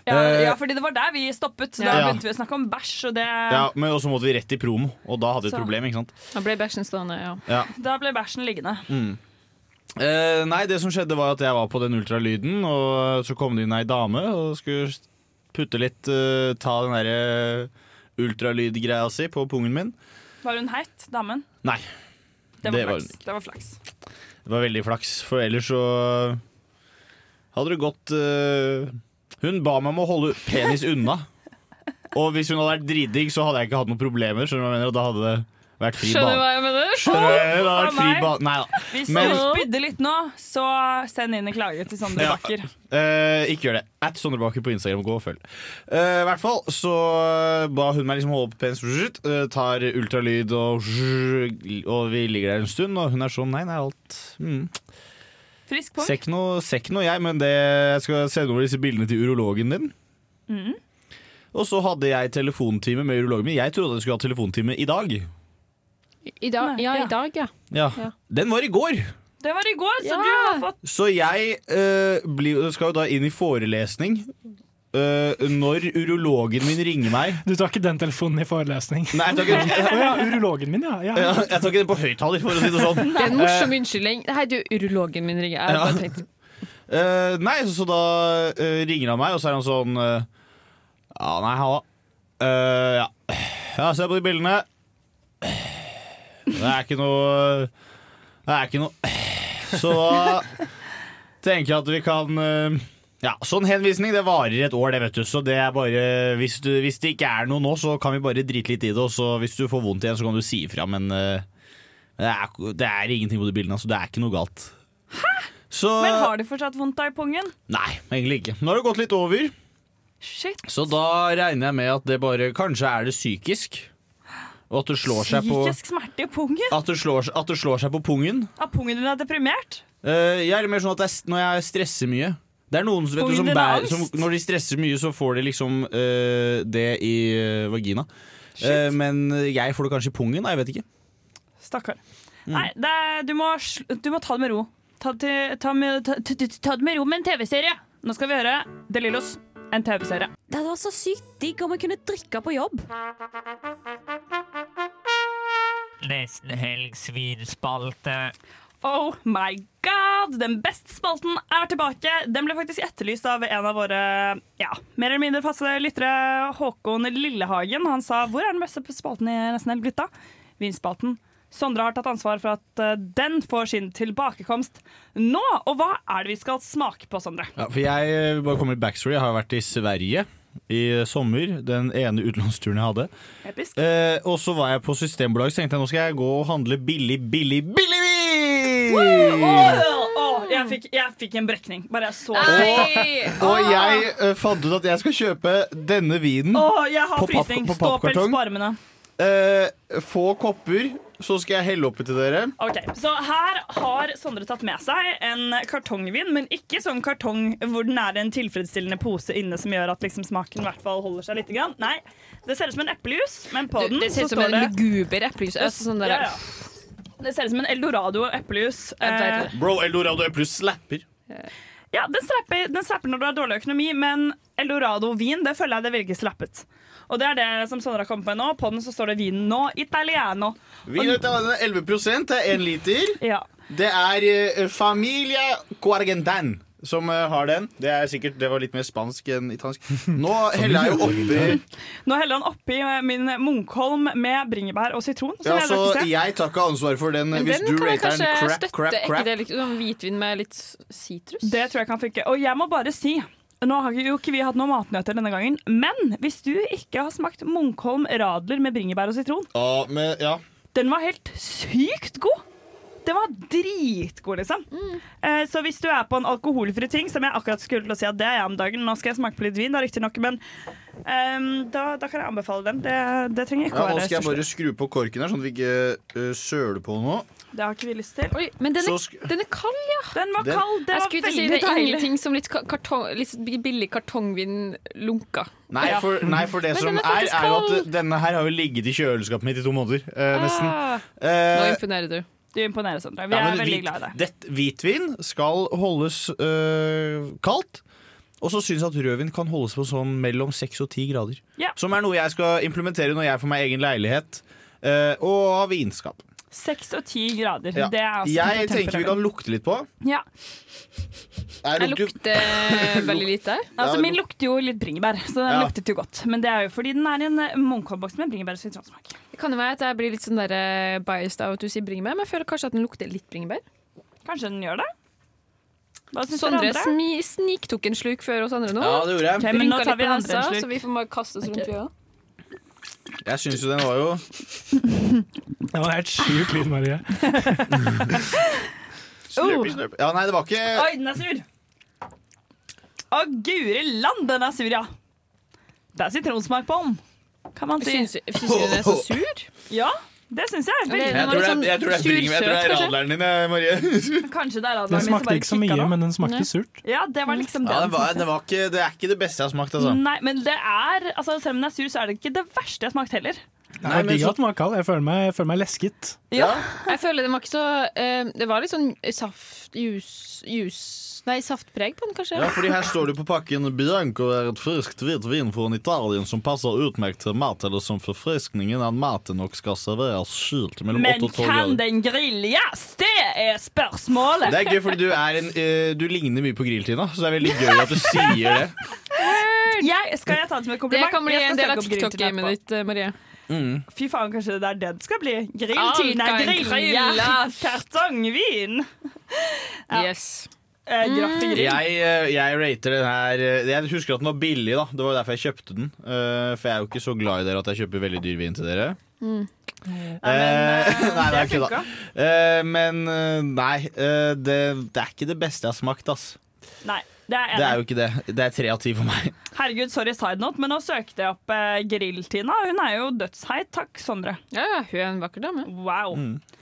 S8: Ja,
S9: Eh,
S8: ja, fordi det var der vi stoppet. Da
S9: Ja.
S8: begynte vi å snakke om bæsj, og det
S9: ja,
S11: Eh.
S9: Men også måtte vi rett i promo, og da hadde vi et
S8: Så.
S9: problem. ikke sant?
S11: Da ble bæsjen stående, ja.
S9: Ja.
S8: Da ble bæsjen liggende.
S9: Mm. Eh, nei, det som skjedde var at jeg var på den ultralyden, og så kom det inn ei dame og skulle putte litt eh, Ta den derre ultralydgreia si på pungen min.
S8: Var hun heit, damen?
S9: Nei.
S8: Det var,
S9: Det var
S8: flaks.
S9: hun
S8: det var flaks.
S9: Det var veldig flaks, for ellers så hadde det gått eh, Hun ba meg om å holde penis unna. Og hvis hun hadde vært dritdigg, så hadde jeg ikke hatt noen problemer. Skjønner du hva jeg mener? Og da hadde det vært fri
S11: Skjønner
S9: bane.
S11: du hva jeg mener?
S9: Skjønner du hva jeg mener?
S8: Å,
S9: Da hadde det vært fri
S8: nei.
S9: bane. Nei da.
S8: Hvis
S9: Men-
S8: du spydde litt nå, så send inn en klage til Sondre
S9: Ja.
S8: Bakker.
S9: Eh, ikke gjør det. At Sondre Baker på Instagram. Gå og følg. Eh, I hvert fall så ba hun meg liksom holde på penis, eh, tar ultralyd og Og vi ligger der en stund, og hun er sånn Nei, nei, alt mm.
S8: Frisk pung.
S9: Ser ikke noe, ser ikke noe jeg, men det, jeg skal sende over disse bildene til urologen din.
S8: Mm.
S9: Og så hadde jeg telefontime med urologen min. Jeg trodde jeg skulle ha telefontime i dag.
S11: I dag, ja, i dag, ja.
S9: Ja. Den var i går!
S8: Det var i går, så
S11: Ja.
S8: du har fått
S9: Så jeg eh, blir, skal jo da inn i forelesning. eh, når urologen min ringer meg
S12: Du tar ikke den telefonen i forelesning.
S9: Nei, jeg tar ikke-
S12: Å ja, urologen min, ja. ja.
S9: Ja, Jeg tar ikke den på høyttaler, for å si det sånn.
S11: Det er en morsom unnskyldning. Nei, du, urologen min ringer. Jeg bare
S9: Ja.
S11: tenkte
S9: Eh, eh, nei, så, så da eh, ringer han meg, og så er han sånn eh, Ja, nei, halla. Eh, ja. ja, se på de bildene. Det er ikke noe Det er ikke noe Så da tenker jeg at vi kan eh, Ja, sånn henvisning det varer et år, det, vet du. Så det er bare Hvis, du, hvis det ikke er noe nå, så kan vi bare drite litt i det. Og så hvis du får vondt igjen, så kan du si ifra, men eh, det er, det er ingenting på de bildene. Altså, det er ikke noe galt. Så-
S8: Men har du fortsatt vondt av i pungen?
S9: Nei, egentlig ikke. Nå har det gått litt over.
S8: Shit.
S9: Så da regner jeg med at det bare Kanskje er det psykisk. Og at det slår seg på
S8: Psykisk smerte i pungen?
S9: At det slår, at det slår seg på pungen.
S8: At pungen din er deprimert?
S9: Eh, jeg er mer sånn at jeg, når jeg stresser mye Det er noen som, vet du, som,
S8: Pungen din er
S9: bærer,
S8: angst.
S9: som Når de stresser mye, så får de liksom eh, det i eh, vagina. Eh, men jeg får det kanskje i pungen. da, Jeg vet ikke.
S8: Stakkar.
S9: Mm.
S8: Nei, det er, du, må, sl- du må ta det med ro. Ta, det- ta, med- ta, ta, ta det med ro med en TV-serie. Nå skal vi høre De Lillos, en TV-serie.
S19: Det hadde vært så sykt digg om jeg kunne drikke på jobb.
S20: Nesten helg svinspalte.
S8: Oh my god! Den beste spalten er tilbake. Den ble faktisk etterlyst av en av våre ja, mer eller mindre faste lyttere, Håkon Lillehagen. Han sa 'Hvor er den beste spalten i Nesten Helg blitt av?' Vinspalten. Sondre har tatt ansvar for at eh, den får sin tilbakekomst nå. Og hva er det vi skal smake på, Sondre?
S9: Ja, for jeg eh, vil bare komme med backstory. Jeg har vært i Sverige i sommer. Den ene utenlandsturen jeg hadde.
S8: Episk.
S9: Eh, og så var jeg på Systembolaget, så tenkte jeg nå skal jeg gå og handle billig, billig, billig vin!
S8: Åh, åh, jeg, fikk, jeg fikk en brekning. Bare jeg så
S9: Og,
S11: Ah!
S9: og jeg eh, fant ut at jeg skal kjøpe denne vinen
S11: Ah!
S8: Åh, jeg har
S9: på, papp-
S8: frysning.
S9: på
S8: Ståpels
S9: pappkartong.
S8: på armene.
S9: Eh, få kopper, så skal jeg helle oppi til dere.
S8: Ok, Så her har Sondre tatt med seg en kartongvin, men ikke sånn kartong hvor den er en tilfredsstillende pose inne som gjør at liksom smaken i hvert fall holder seg litt. Grann. Nei, det ser ut som en eplejus, men på
S11: Du,
S8: den
S11: det ser ut
S8: så
S11: som
S8: står
S11: en
S8: det
S11: luguber eplejus. Altså, sånn der-
S8: ja, ja. Det ser ut som en eldorado eplejus. Eh,
S9: Bro, Eldorado Plus slapper.
S8: ja, den slapper, den slapper når du har dårlig økonomi, men Eldorado-vin det føler jeg det virker slappet. Og det er det som Sondre har kommet med nå. På den så står det vinen nå, italiano.
S9: Vin
S8: Og-
S9: ut av denne 11 det er én liter.
S8: Ja.
S9: Det er eh, Familia Cuargentan som eh, har den. Det er sikkert, det var litt mer spansk enn italiensk. Nå heller jeg jo oppi
S8: Nå heller han oppi eh, min Munkholm med bringebær og sitron. Som
S9: ja,
S8: jeg
S9: så
S8: lagde selv.
S9: Jeg tar ikke ansvar for den
S11: Men
S9: hvis
S11: den
S9: du
S11: kan jeg
S9: rater den
S11: kanskje
S9: crap,
S11: støtte.
S9: crap,
S11: Er
S9: crap.
S11: Ikke det litt sånn hvitvin med litt sitrus?
S8: Det tror jeg kan funke. Og jeg må bare si nå har jo ikke vi hatt noen matnøtter denne gangen, men hvis du ikke har smakt Munkholm radler med bringebær og sitron
S9: Ja, men, ja.
S8: Den var helt sykt god! Den var dritgod, liksom.
S11: Mm.
S8: Eh, så hvis du er på en alkoholfri ting, som jeg akkurat skulle til å si at det er jeg om dagen Nå skal jeg smake på litt vin, da, riktignok, men ehm, da, da kan jeg anbefale den. Det, det trenger jeg
S9: Ja,
S8: ikke å
S9: nå
S8: være
S9: skal jeg
S8: størst.
S9: bare skru på korken her, sånn at vi ikke eh, søler på noe.
S8: Det har ikke vi lyst til.
S11: Men den
S9: Så
S11: er,
S9: sk-
S11: den er kald, ja.
S8: Den var
S9: Den- kald, det
S11: jeg
S8: var
S11: skulle ikke si
S8: veldig
S11: det er
S8: deilig.
S11: ingenting som litt, ka- kartong, litt billig kartongvin lunka.
S9: Nei, for, nei, for det
S11: Men
S9: som er,
S11: den er, faktisk
S9: er jo at
S11: kald.
S9: denne her har jo ligget i kjøleskapet mitt i to måneder. eh, nesten.
S11: Ah.
S9: Eh,
S11: Nå imponerer du.
S8: Du imponerer, Sondre. Vi
S9: Ja,
S8: er
S9: men
S8: veldig
S9: hvit-
S8: glad i deg.
S9: dett- hvitvin skal holdes øh, kaldt. Og så syns jeg at rødvin kan holdes på sånn mellom 6 og 10 grader.
S8: Ja.
S9: Som er noe jeg skal implementere når jeg får meg egen leilighet øh, og har vinskap.
S8: Seks og ti grader.
S9: Ja.
S8: Det er altså
S9: Jeg
S8: temperaturen.
S9: tenker vi kan lukte litt på.
S8: ja.
S9: Jeg lukter
S11: lukter veldig lite.
S8: Altså, Min lukter jo litt bringebær, så den
S11: Ja.
S8: luktet jo godt. Men det er jo fordi den er i en eh, munkholmboks med bringebær og sitronsmak.
S11: Det kan jo være at jeg blir litt sånn der eh, biased av at du sier bringebær, men jeg føler kanskje at den lukter litt bringebær.
S8: Kanskje den gjør det? Hva syns dere
S11: Sondre
S8: andre?
S11: smi- sniktok en sluk før oss andre nå.
S9: Ja, det gjorde jeg. Ok,
S11: Eh, men
S9: men nå
S11: nå
S9: tar vi
S11: på
S9: andre en
S11: nesa,
S9: slurk.
S11: så vi får bare kaste oss rundt i øya.
S9: Jeg syns jo den var jo
S12: Det var helt sjukt lyd, Marie.
S9: Slurpy, slurpy. Ja, nei, det var ikke
S8: Oi, den er sur! Å, guri land, den er sur, ja! Det er sitronsmak på den, kan man si.
S11: Syns- syns du den er så sur?
S8: Ja, det syns jeg.
S11: Ja, det-
S8: Veldig.
S11: Jeg tror det er- jeg tror det er bringebær. Jeg tror det er
S8: Kanskje.
S9: radleren din, eh, Marie.
S8: Kanskje det er radleren
S12: Den
S8: min som
S12: smakte
S8: bare
S12: ikke så
S8: kicka
S12: mye,
S8: nå.
S12: men den smakte
S8: Nei.
S12: surt.
S8: Ja, det var liksom det.
S9: Ja,
S8: den
S9: det, var,
S8: smakte.
S9: det, var ikke, det er ikke det beste jeg har smakt, altså.
S8: Nei, men det er altså, Selv om den er sur, så er det ikke det verste jeg har smakt heller.
S12: Det var digg at den var kald. Jeg føler meg, jeg føler meg lesket.
S11: Jeg føler den var ikke så eh, Det var litt sånn saft, jus, jus Nei, saftpreg på den, kanskje?
S9: Ja, fordi her står det på pakken Bianco er et friskt hvitt vin fra Italien som passer utmerket til mat eller som forfriskningen av maten og skal serveres kylt mellom 8
S8: Men
S9: og 12
S8: kan
S9: grader.
S8: den grilles? Det er spørsmålet!
S9: Det er gøy, fordi du, er en, eh, du ligner mye på Grill-Tina, så det er veldig gøy at du sier det.
S8: Jeg, skal jeg ta det som et kompliment?
S11: Det kan bli
S8: Jeg skal
S11: en
S8: søke
S11: del av
S8: opp grilltiden
S11: TikTok-gamet
S8: etterpå.
S11: ditt, eh, Marie.
S8: Fy faen, kanskje det er det det skal bli. Grilltiden
S11: Alt
S8: er
S11: kan
S8: grill.
S11: grilles.
S8: Kartongvin.
S11: Yes.
S8: Eh,
S11: Mm.
S9: Jeg,
S8: Graffegrill.
S9: eh, jeg rater den her eh, Jeg husker at den var billig, da. Det var derfor jeg kjøpte den. Eh, For jeg er jo ikke så glad i dere at jeg kjøper veldig dyr vin til dere. Eh, nei, nei,
S8: det
S9: kødda.
S8: funka.
S9: Eh, Men eh, nei, eh, det, det er ikke det beste jeg har smakt, ass.
S8: Nei, det er
S9: Det
S8: jeg
S9: er
S8: enig.
S9: jo ikke det. Det er tre av ti for meg.
S8: i. Herregud, sorry side note, men nå søkte jeg opp eh, grilltina. Hun er jo dødsheit. Takk, Sondre.
S11: Ja, ja, hun er en vakker dame.
S8: Wow.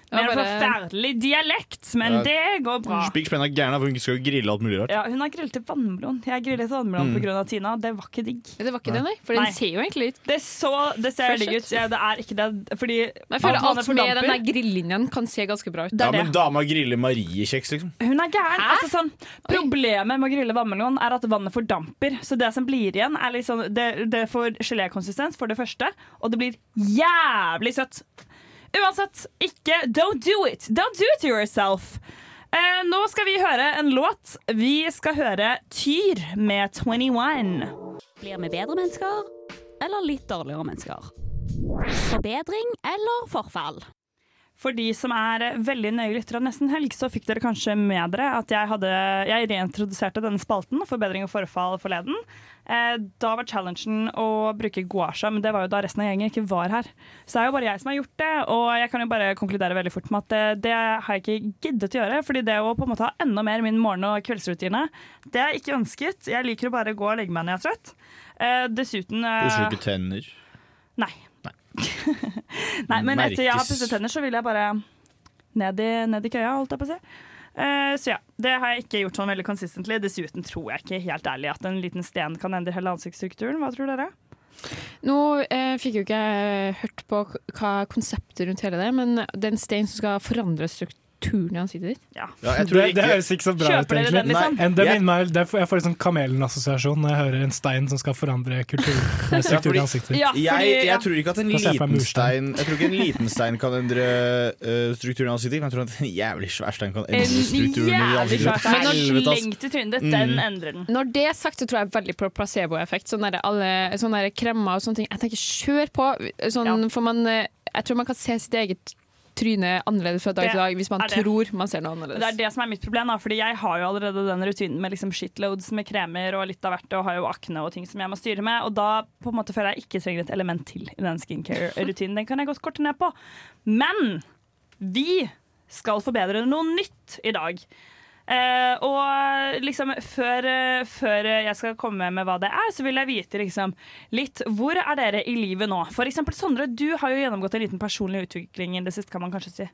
S11: Det var
S8: Med en
S11: bare-
S8: forferdelig dialekt, men
S9: Mm. Ja.
S8: det går bra.
S9: Spikk spenna gæren av, for hun skal jo grille alt mulig rart.
S8: Ja, hun har grillet til vannmelon. Jeg grillet til vannmelon
S9: Mm.
S8: på grunn av Tina. Det var ikke digg.
S11: Det var ikke det, nei. For den ser jo egentlig litt
S8: Det, så, det ser
S11: fresh
S8: digg ut.
S11: ut.
S8: Ja, det er ikke det. Fordi
S11: Jeg føler
S8: vannet
S11: alt med
S8: fordamper.
S11: den der grillinjen kan se ganske bra ut.
S9: Ja, men dama griller mariekjeks, liksom.
S8: Hun er gæren. Altså, sånn, problemet med å grille vannmelon er at vannet fordamper. Så det som blir igjen, er liksom, det, det får gelékonsistens, for det første, og det blir jævlig søtt. Uansett, ikke Don't do it! Don't do it to yourself! Eh, nå skal vi høre en låt. Vi skal høre Tyr med 21.
S19: Blir vi bedre mennesker eller litt dårligere mennesker? Forbedring eller forfall?
S8: For de som er eh, veldig nøye lyttere av Nesten Helg, så fikk dere kanskje med dere at jeg, hadde, jeg reintroduserte denne spalten, Forbedring og forfall, forleden. Eh, da var challengen å bruke guasha, men det var jo da resten av gjengen ikke var her. Så det er jo bare jeg som har gjort det, og jeg kan jo bare konkludere veldig fort med at det, det har jeg ikke giddet å gjøre. fordi det å på en måte ha enda mer min morgen- og kveldsrutine, det er ikke ønsket. Jeg liker å bare gå og legge meg når jeg er trøtt. Eh, dessuten eh,
S9: Pusser ikke tenner.
S8: Nei. Nei, men etter jeg har
S9: Merkes.
S8: pusset tenner, så vil jeg bare ned i, ned i køya, holdt jeg på å si. Eh, så ja, det har jeg ikke gjort sånn veldig consistently. Dessuten tror jeg ikke helt ærlig at en liten sten kan endre hele ansiktsstrukturen. Hva tror dere?
S11: Nå eh, fikk jo ikke jeg hørt på k- hva konseptet rundt hele det, men den steinen som skal forandre strukturen i ansiktet ditt
S9: Ja, jeg tror
S12: det, det
S9: ikke-
S12: høres ikke så bra ut,
S9: Kjøper dere
S12: egentlig.
S9: den, liksom? Nei.
S12: En- det
S9: Jeg-
S12: minner meg, det er for- jeg får litt sånn Kamelen-assosiasjon når jeg hører en stein som skal forandre
S9: Ja,
S12: kulturstruktur
S9: fordi-
S12: i ansiktet.
S9: jeg, jeg tror ikke at en
S12: Da ser jeg for
S9: liten
S12: meg murstein.
S9: stein Jeg tror ikke en liten stein kan endre eh, strukturen i ansiktet, men jeg tror at en jævlig svær stein kan endre
S8: Men
S9: strukturen i ansiktet.
S8: når den
S9: Helvete, ass.
S8: slenger til trynet ditt,
S9: Mm.
S8: den endrer den.
S11: Når det er sagt, så tror jeg veldig på placeboeffekt. Sånne, der alle- sånne der kremmer og sånne ting. Jeg tenker, kjør på! Sånn, for man, eh, jeg tror man kan se sitt eget tryne annerledes fra dag
S8: Det
S11: til dag hvis man
S8: er det.
S11: tror man ser noe
S8: Det er
S11: annerledes.
S8: det som er mitt problem, da, fordi jeg har jo allerede den rutinen med liksom shitloads med kremer og litt av hvert, og har jo akne og ting som jeg må styre med, og da på en måte føler jeg ikke trenger et element til i den skincare-rutinen. Den kan jeg godt korte ned på. Men vi skal forbedre noe nytt i dag. Eh, og liksom før, eh, før jeg skal komme med hva det er, så vil jeg vite liksom litt Hvor er dere i livet nå? For eksempel Sondre, du har jo gjennomgått en liten personlig utvikling i det siste, kan man kanskje si.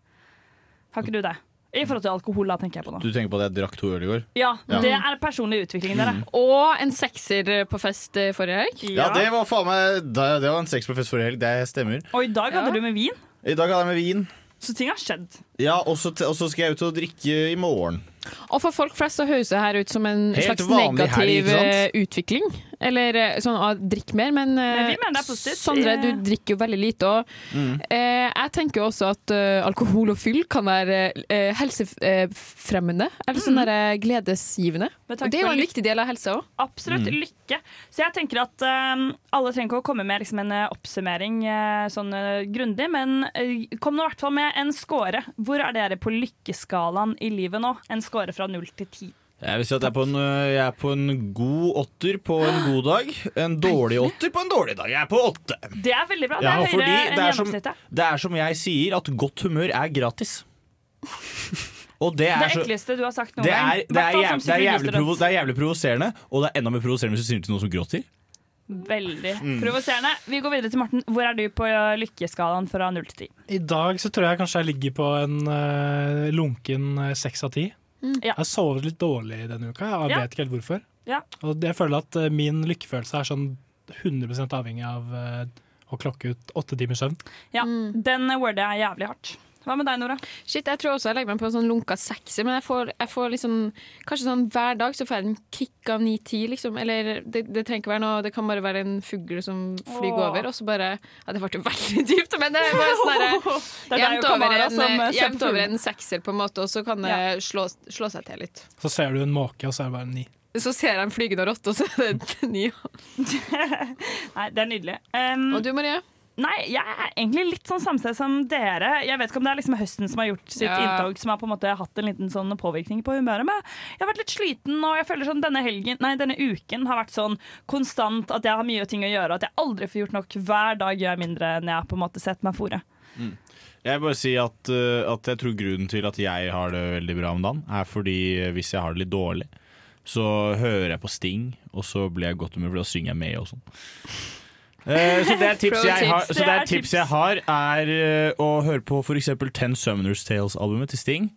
S8: Har ikke du det? I forhold til alkohol, da, tenker jeg på nå.
S9: Du tenker på at jeg drakk to øl i går?
S8: Ja,
S9: Ja. Mm.
S8: det er personlig utvikling, dere.
S11: Og en sekser på fest eh, forrige helg.
S9: Ja, det var faen meg Det, det var en seks på fest forrige helg, det stemmer.
S8: Og i dag hadde du med vin,
S9: I dag hadde jeg med vin.
S8: så ting har skjedd.
S9: Ja, og så og så skal jeg ut og drikke i morgen.
S11: Og for folk flest så høres det her ut som en
S9: Helt
S11: slags
S9: vanlig helg,
S11: negativ
S9: ikke
S11: eh,
S9: sant?
S11: utvikling. Eller eh, sånn ah, drikk mer, men, eh,
S8: Men vi mener det er positivt.
S11: Sondre, du drikker jo veldig lite. Og,
S9: Mm.
S11: eh, jeg tenker jo også at eh, alkohol og fyll kan være eh, helsefremmende. Eller
S8: Mm.
S11: sånn der, eh, gledesgivende.
S8: Med
S11: Og
S8: tanke
S11: det er
S8: på
S11: jo en
S8: lykke.
S11: viktig del av helsa òg.
S8: Absolutt.
S11: Mm.
S8: Lykke. Så jeg tenker at eh, alle trenger ikke å komme med liksom, en eh, oppsummering eh, sånn eh, grundig, men eh, kom nå i hvert fall med en score. Hvor er dere på lykkeskalaen i livet nå? En score fra null til ti.
S9: Jeg vil si at jeg er, på en, øh, jeg er på en god åtter på en god dag. En dårlig åtter på en dårlig dag. Jeg er på åtte.
S8: Det er veldig bra. Det
S9: Ja,
S8: er
S9: fordi
S8: høyere enn
S9: det er, som,
S8: gjennomsnittet.
S9: det er som jeg sier, at godt humør er gratis. Og det
S8: Det,
S9: er så
S8: ekleste du har sagt noen
S9: det er,
S8: gang.
S9: det, er
S8: Hvertfall
S9: jævlig,
S8: som
S9: det, er jævlig
S8: psykologistudent.
S9: provo, det er jævlig provoserende, og det er enda mer provoserende hvis du sier det til noen som gråter.
S8: Veldig
S9: Mm.
S8: provoserende. Vi går videre til Morten. Hvor er du på eh, lykkeskalaen fra null til ti?
S12: I dag så tror jeg kanskje jeg ligger på en eh, lunken eh, seks av ti.
S8: Mm. Ja.
S12: Jeg har sovet litt dårlig denne uka, jeg
S8: Ja.
S12: vet ikke helt hvorfor.
S8: Ja.
S12: Og jeg føler at eh, min lykkefølelse er sånn 100 avhengig av eh, å klokke ut åtte timers søvn.
S8: Ja, den eh, wordet er jævlig hardt. Hva med deg, Nora?
S11: Shit, Jeg tror også jeg legger meg på en sånn lunka sekser, men jeg får, jeg får liksom Kanskje sånn hver dag så får jeg en kick av ni-ti, liksom. Eller det, det trenger ikke være noe, det kan bare være en fugl som flyger
S8: Åh.
S11: over, og så bare Ja, det ble jo veldig dypt, men det er bare sånn
S8: eh, Det er
S11: derre
S8: deg
S11: Jevnt
S8: og
S11: over,
S8: Kamara
S11: en-
S8: som, eh,
S11: jevnt
S8: kjemper
S11: over
S8: fugl.
S11: en sekser, på en måte, og så kan det slå, slå seg til litt.
S12: Så ser du en måke, og så er det bare ni.
S11: Så ser jeg en flygende rotte, og så er det ny.
S8: Nei, det er nydelig. Um,
S11: og du, Marie?
S8: Nei, jeg er egentlig litt sånn samme sted som dere. Jeg vet ikke om det er liksom høsten som har gjort sitt
S11: Ja.
S8: inntog, som har på en måte hatt en liten sånn påvirkning på humøret. Men jeg har vært litt sliten, og jeg føler sånn denne helgen, nei, denne uken har vært sånn konstant at jeg har mye ting å gjøre, og at jeg aldri får gjort nok. Hver dag gjør jeg mindre enn jeg på en måte setter meg fore.
S9: Mm. Jeg vil bare si at, eh, at jeg tror grunnen til at jeg har det veldig bra om dagen, er fordi eh, hvis jeg har det litt dårlig, så hører jeg på Sting, og så blir jeg i godt humør, for da synger jeg med og sånn. Eh, Så det er tips
S3: Pro
S9: jeg har,
S3: tips.
S9: så det
S3: Det
S9: er,
S3: er
S9: tips jeg har er eh, å høre på f.eks. Ten Summoners Tales-albumet til Sting.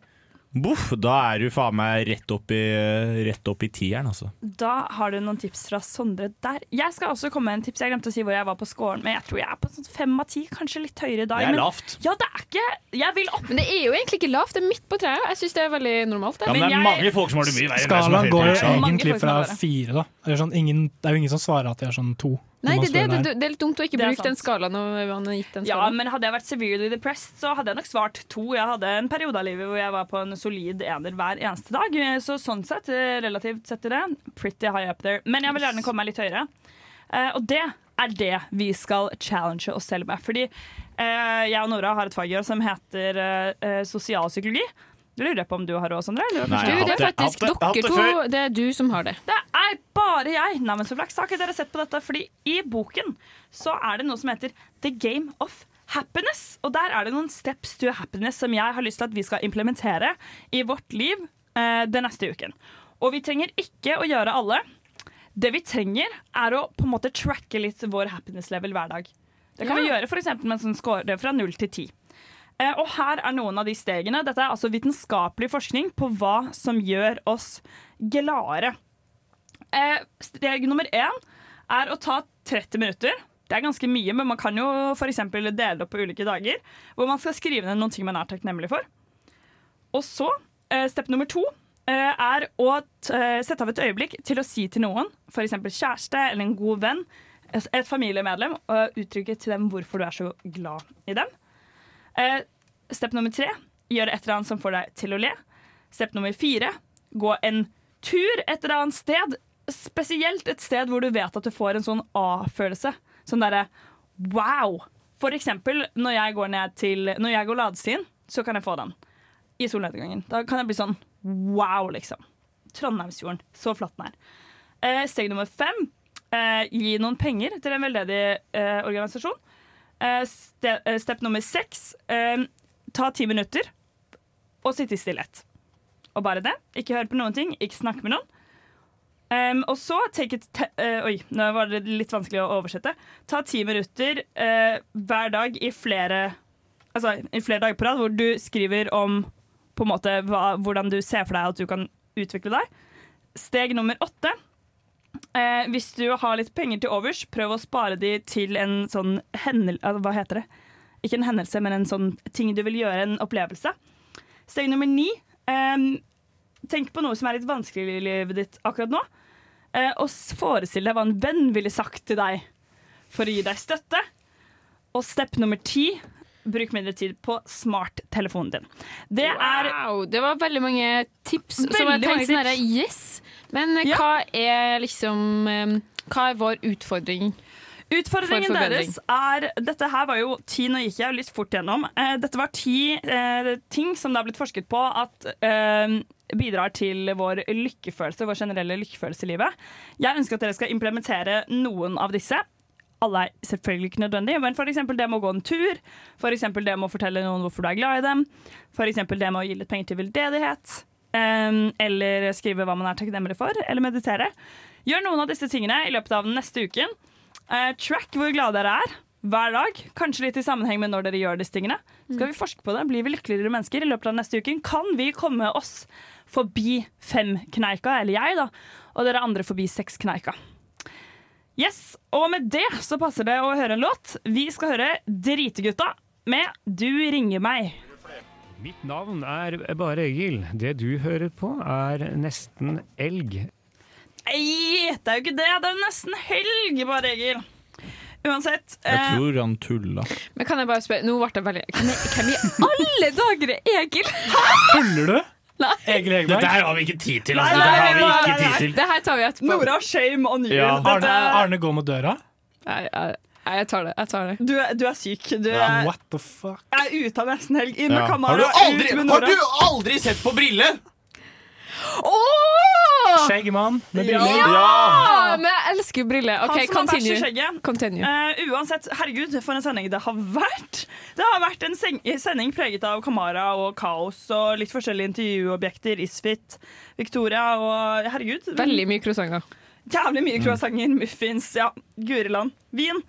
S9: Boff, da er du faen meg rett opp i, eh, rett opp i tieren, altså.
S8: Da har du noen tips fra Sondre der. Jeg skal også komme med en tips. Jeg glemte å si hvor jeg var på skåren, men jeg tror jeg er på sånn fem av ti, kanskje litt høyere i dag.
S9: Det er
S8: men-
S9: lavt.
S8: Ja, det er ikke Jeg vil opp.
S11: Men det er jo egentlig ikke lavt, det er midt på treet. Jeg syns det er veldig normalt.
S9: Ja, men det er mange folk som har det mye verre enn deg som har
S12: Skalaen går jo
S9: høyere.
S12: egentlig
S11: folk som
S12: fra
S11: har det.
S12: fire, da. Det er, sånn, ingen, det er jo ingen som svarer at de er sånn to.
S11: Nei,
S12: når man
S11: det, det,
S12: spør
S11: det,
S12: her.
S11: det er litt dumt å ikke
S8: Det er
S11: bruke den skalaen. Når man har gitt den
S8: Ja,
S11: skalaen.
S8: men hadde jeg vært severely depressed, så hadde jeg nok svart to. Jeg hadde en periode av livet hvor jeg var på en solid ener hver eneste dag. Så sånn sett, eh, relativt sett til det, pretty high up there. Men jeg vil gjerne komme meg litt høyere. Eh, og det er det vi skal challenge oss selv med. Fordi eh, jeg og Nora har et fag i år som heter eh, eh, sosialpsykologi. Du lurer jeg på om du har råd, Sondre? eller
S11: Nei,
S8: kanskje-
S11: jeg har Du, det er hatt det. faktisk Jeg har hatt det. dere Jeg har hatt det to. før. Det er du som har det.
S8: Det er bare jeg! Nei, men så flaks. Har ikke dere sett på dette? Fordi i boken så er det noe som heter The Game of Happiness. Og der er det noen steps to happiness som jeg har lyst til at vi skal implementere i vårt liv eh, den neste uken. Og vi trenger ikke å gjøre alle. Det vi trenger, er å på en måte tracke litt vår happiness level hver dag. Det kan vi
S11: Ja.
S8: gjøre for eksempel med en sånn score fra 0 til 10. Eh, Og her er noen av de stegene. Dette er altså vitenskapelig forskning på hva som gjør oss gladere. Eh, Steg nummer én er å ta 30 minutter. Det er ganske mye, men man kan jo for eksempel dele det opp på ulike dager. Hvor man skal skrive ned noen ting man er takknemlig for. Og så, eh, step nummer to eh, er å t eh, sette av et øyeblikk til å si til noen, f.eks. kjæreste eller en god venn, et et familiemedlem, og uttrykke til dem hvorfor du er så glad i dem. Eh, step nummer tre gjør et eller annet som får deg til å le. Step nummer fire gå en tur et eller annet sted, spesielt et sted hvor du vet at du får en sånn A-følelse. Sånn derre wow! For eksempel når jeg går ned til Når jeg går ladestien, så kan jeg få den i solnedgangen. Da kan jeg bli sånn wow, liksom. Trondheimsfjorden. Så flott den er. Eh, steg nummer fem eh, gi noen penger til en veldedig eh, organisasjon. Eh, ste, eh, step nummer seks eh, ta ti minutter og sitte i stillhet. Og bare det. Ikke høre på noen ting, ikke snakke med noen. Em, og så take it te eh, Oi, nå var det litt vanskelig å oversette. Ta ti minutter eh, hver dag i flere Altså i flere dager på rad, hvor du skriver om på en måte hva, hvordan du ser for deg at du kan utvikle deg. Steg nummer åtte. Eh, hvis du har litt penger til overs, prøv å spare de til en sånn hendel... eh, Hva heter det? Ikke en hendelse, men en sånn ting du vil gjøre, en opplevelse. Steg nummer ni. em, tenk på noe som er litt vanskelig i livet ditt akkurat nå. eh, og s- forestill deg hva en venn ville sagt til deg for å gi deg støtte. Og step nummer ti. Bruk mindre tid på smarttelefonen din. Det er
S11: Wow, det var veldig mange tips.
S8: Veldig
S11: så jeg
S8: mange
S11: tenkte sånn her,
S8: tips.
S11: yes. Men eh,
S8: Ja.
S11: hva er liksom eh, Hva er vår utfordring?
S8: Utfordringen
S11: For forbedring.
S8: deres er Dette her var jo ti, nå gikk jeg jo litt fort gjennom. Eh, dette var ti eh, ting som det har blitt forsket på at eh, bidrar til vår lykkefølelse, vår generelle lykkefølelse i livet. Jeg ønsker at dere skal implementere noen av disse. Alle er selvfølgelig ikke nødvendige, men f.eks. det med å gå en tur. F.eks. det med å fortelle noen hvorfor du er glad i dem. F.eks. det med å gi litt penger til veldedighet. eh, Eller skrive hva man er takknemlig for. Eller meditere. Gjør noen av disse tingene i løpet av den neste uken. Eh, track hvor glade dere er hver dag. Kanskje litt i sammenheng med når dere gjør disse tingene. Skal vi forske på det? Blir vi lykkeligere mennesker i løpet av neste uken? Kan vi komme oss forbi femkneika, eller jeg, da, og dere andre forbi sekskneika? Yes, og med det så passer det å høre en låt. Vi skal høre Dritegutta med Du ringer meg.
S21: Mitt navn er Bare Egil. Det du hører på er nesten elg.
S8: Nei, det er jo ikke det. Det er jo nesten helg, bare, Egil. Uansett. eh,
S9: Jeg tror han tulla.
S11: Men kan jeg bare spørre, nå ble jeg veldig Hvem, hvem i alle dager er Egil?
S12: Tuller du? Egil Hegerberg.
S9: Dette her har vi ikke tid til,
S8: Nei,
S9: altså.
S8: nei,
S9: Dette har vi
S8: nei,
S9: ikke
S8: nei,
S9: tid til.
S11: Det her tar vi etterpå.
S8: Nora, shame on you. Dette-
S12: Arne, Arne går mot døra.
S11: Nei, jeg, nei, jeg tar det. Jeg tar det.
S8: Du, er- du er syk. Du
S12: Ja,
S8: er,
S12: what the fuck?
S8: jeg er ute av nesten helg. Inn med
S12: Ja.
S8: Kamara.
S9: Har du aldri,
S8: ut med
S9: har
S8: Nora.
S9: du aldri sett på briller?
S12: Skjegg mann med
S11: Ja!
S12: briller.
S11: Men jeg elsker briller. OK,
S8: Han som har bæsj i
S11: continue.
S8: skjegget.
S11: continue.
S8: Eh, uansett, herregud, for en sending det har vært! Det har vært en seng- sending preget av Kamara og kaos og litt forskjellige intervjuobjekter. Isfit, Victoria og herregud.
S11: Veldig mye croissanter.
S8: Jævlig
S9: Mm.
S8: mye croissanter, muffins, ja. Guriland. Vin.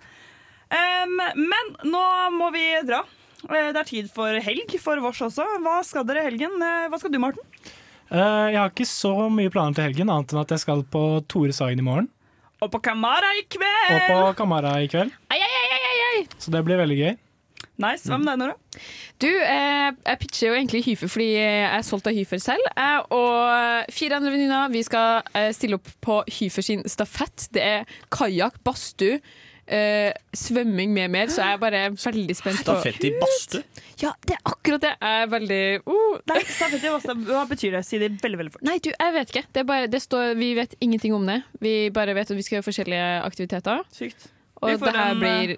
S8: Em, men nå må vi dra. Eh, Det er tid for helg for vårs også. Hva skal dere i helgen? Eh, Hva skal du, Morten?
S12: Eh, jeg har ikke så mye planer til helgen, annet enn at jeg skal på Tore Sagen i morgen.
S8: Og på Kamara i kveld!
S12: Og på Kamara i kveld.
S11: Eh. Ai, ai, ai, ai, ai, ai.
S12: Så det blir veldig gøy.
S8: Nice. Hva med deg, Nora?
S11: Du, eh, jeg pitcher jo egentlig Hyfer fordi jeg er solgt av Hyfer selv. Jeg og fire andre venninner vi skal eh, stille opp på Hyfer sin stafett. Det er kajakk, badstue, eh, svømming med mer, så jeg er bare veldig spent på
S9: Stafett i badstue?
S11: Ja, det er akkurat det. Jeg er veldig oh,
S8: Nei, stafett i Åsta, hva betyr det? Si det veldig, veldig fort.
S11: Nei, du, jeg vet ikke. Det er bare, det står, vi vet ingenting om det. Vi bare vet at vi skal gjøre forskjellige aktiviteter.
S8: Sykt.
S11: Og
S8: Vi får
S11: det her
S8: en, eh,
S11: blir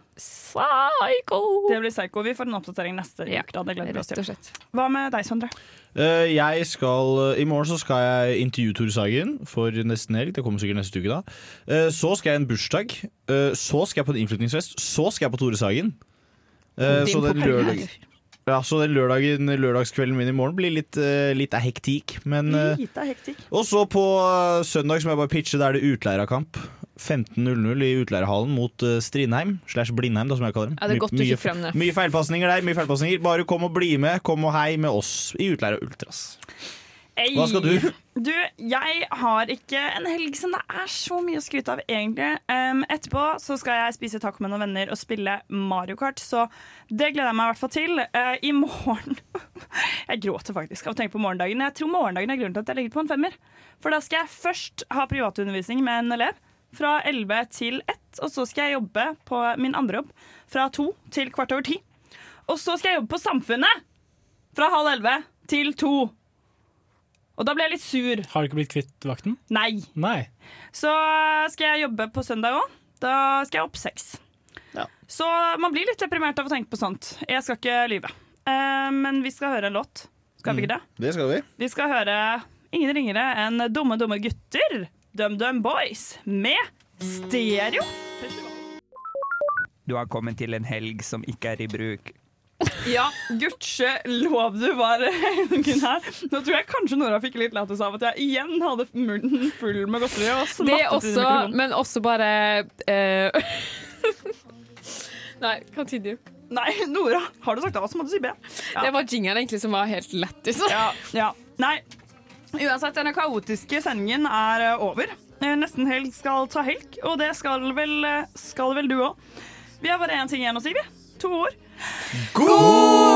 S11: psycho.
S8: Det blir psycho. Vi får en oppdatering neste
S11: Ja,
S8: uke. Da. Det gleder vi oss
S11: rett og
S8: til. Hva med deg, Sondre?
S9: Eh, jeg skal, I morgen så skal jeg intervjue Tore Sagen for nesten helg. Det kommer sikkert neste uke, da. Eh, så skal jeg i en bursdag. Eh, så skal jeg på en innflyttingsfest. Så skal jeg på Tore Sagen. Eh,
S1: Din
S9: så den
S1: på
S9: lørdag,
S1: helgen.
S9: ja, så den lørdagen, lørdagskvelden min i morgen blir litt, eh, litt av hektik.
S8: Mm.
S9: Men, eh,
S8: Lite hektikk.
S9: og så på eh, søndag som jeg bare pitche, da er det utleierkamp. 15.00 i utleierhallen mot eh, Strindheim slash Blindheim, da, som jeg kaller dem.
S11: Ja, det er
S9: Mye-
S11: godt du
S9: mye-
S11: fikk frem det.
S9: Mye feilpasninger der. mye feilpasninger Bare kom og bli med. Kom og hei med oss i Utleier og Ultras.
S8: Ei.
S9: Hva skal du?
S8: Du, jeg har ikke en helg som det er så mye å skryte av, egentlig. Em, etterpå så skal jeg spise taco med noen venner og spille Mario Kart, så det gleder jeg meg i hvert fall til. Eh, I morgen Jeg gråter faktisk av å tenke på morgendagen. Jeg tror morgendagen er grunnen til at jeg legger på en femmer. For da skal jeg først ha privatundervisning med en elev fra 11 til 1, og så skal jeg jobbe på min andre jobb fra 2 til kvart over 10. Og så skal jeg jobbe på Samfunnet fra halv 11 til 2. Og da ble jeg litt sur.
S12: Har du ikke blitt kvitt vakten?
S8: Nei.
S12: Nei.
S8: Så skal jeg jobbe på søndag òg. Da skal jeg opp seks. Så man blir litt deprimert av å tenke på sånt. Jeg skal ikke lyve. Eh, men vi skal høre en låt. Skal vi ikke det?
S9: Det skal vi.
S8: Vi skal høre ingen ringere enn Dumme dumme gutter, DumDum Boys, med stereo.
S1: Du har kommet til en helg som ikke er i bruk.
S8: Ja, gudskjelov du var helgen her. Nå tror jeg kanskje Nora fikk litt lættis av at jeg igjen hadde munnen full med godteri. Og
S11: Det
S8: smattet
S11: er
S8: i
S11: også,
S8: mikrofonen.
S11: men også bare eh, Nei, continue.
S8: Nei, Nora, har du sagt A, så må du si B.
S11: Det var jingeren egentlig som var helt liksom. lættis.
S8: Ja, ja. Nei. Uansett, denne kaotiske sendingen er eh, over. Eh, Nesten helg skal ta helg, og det skal vel, eh, skal vel du òg. Vi har bare én ting igjen å si, vi. To ord. God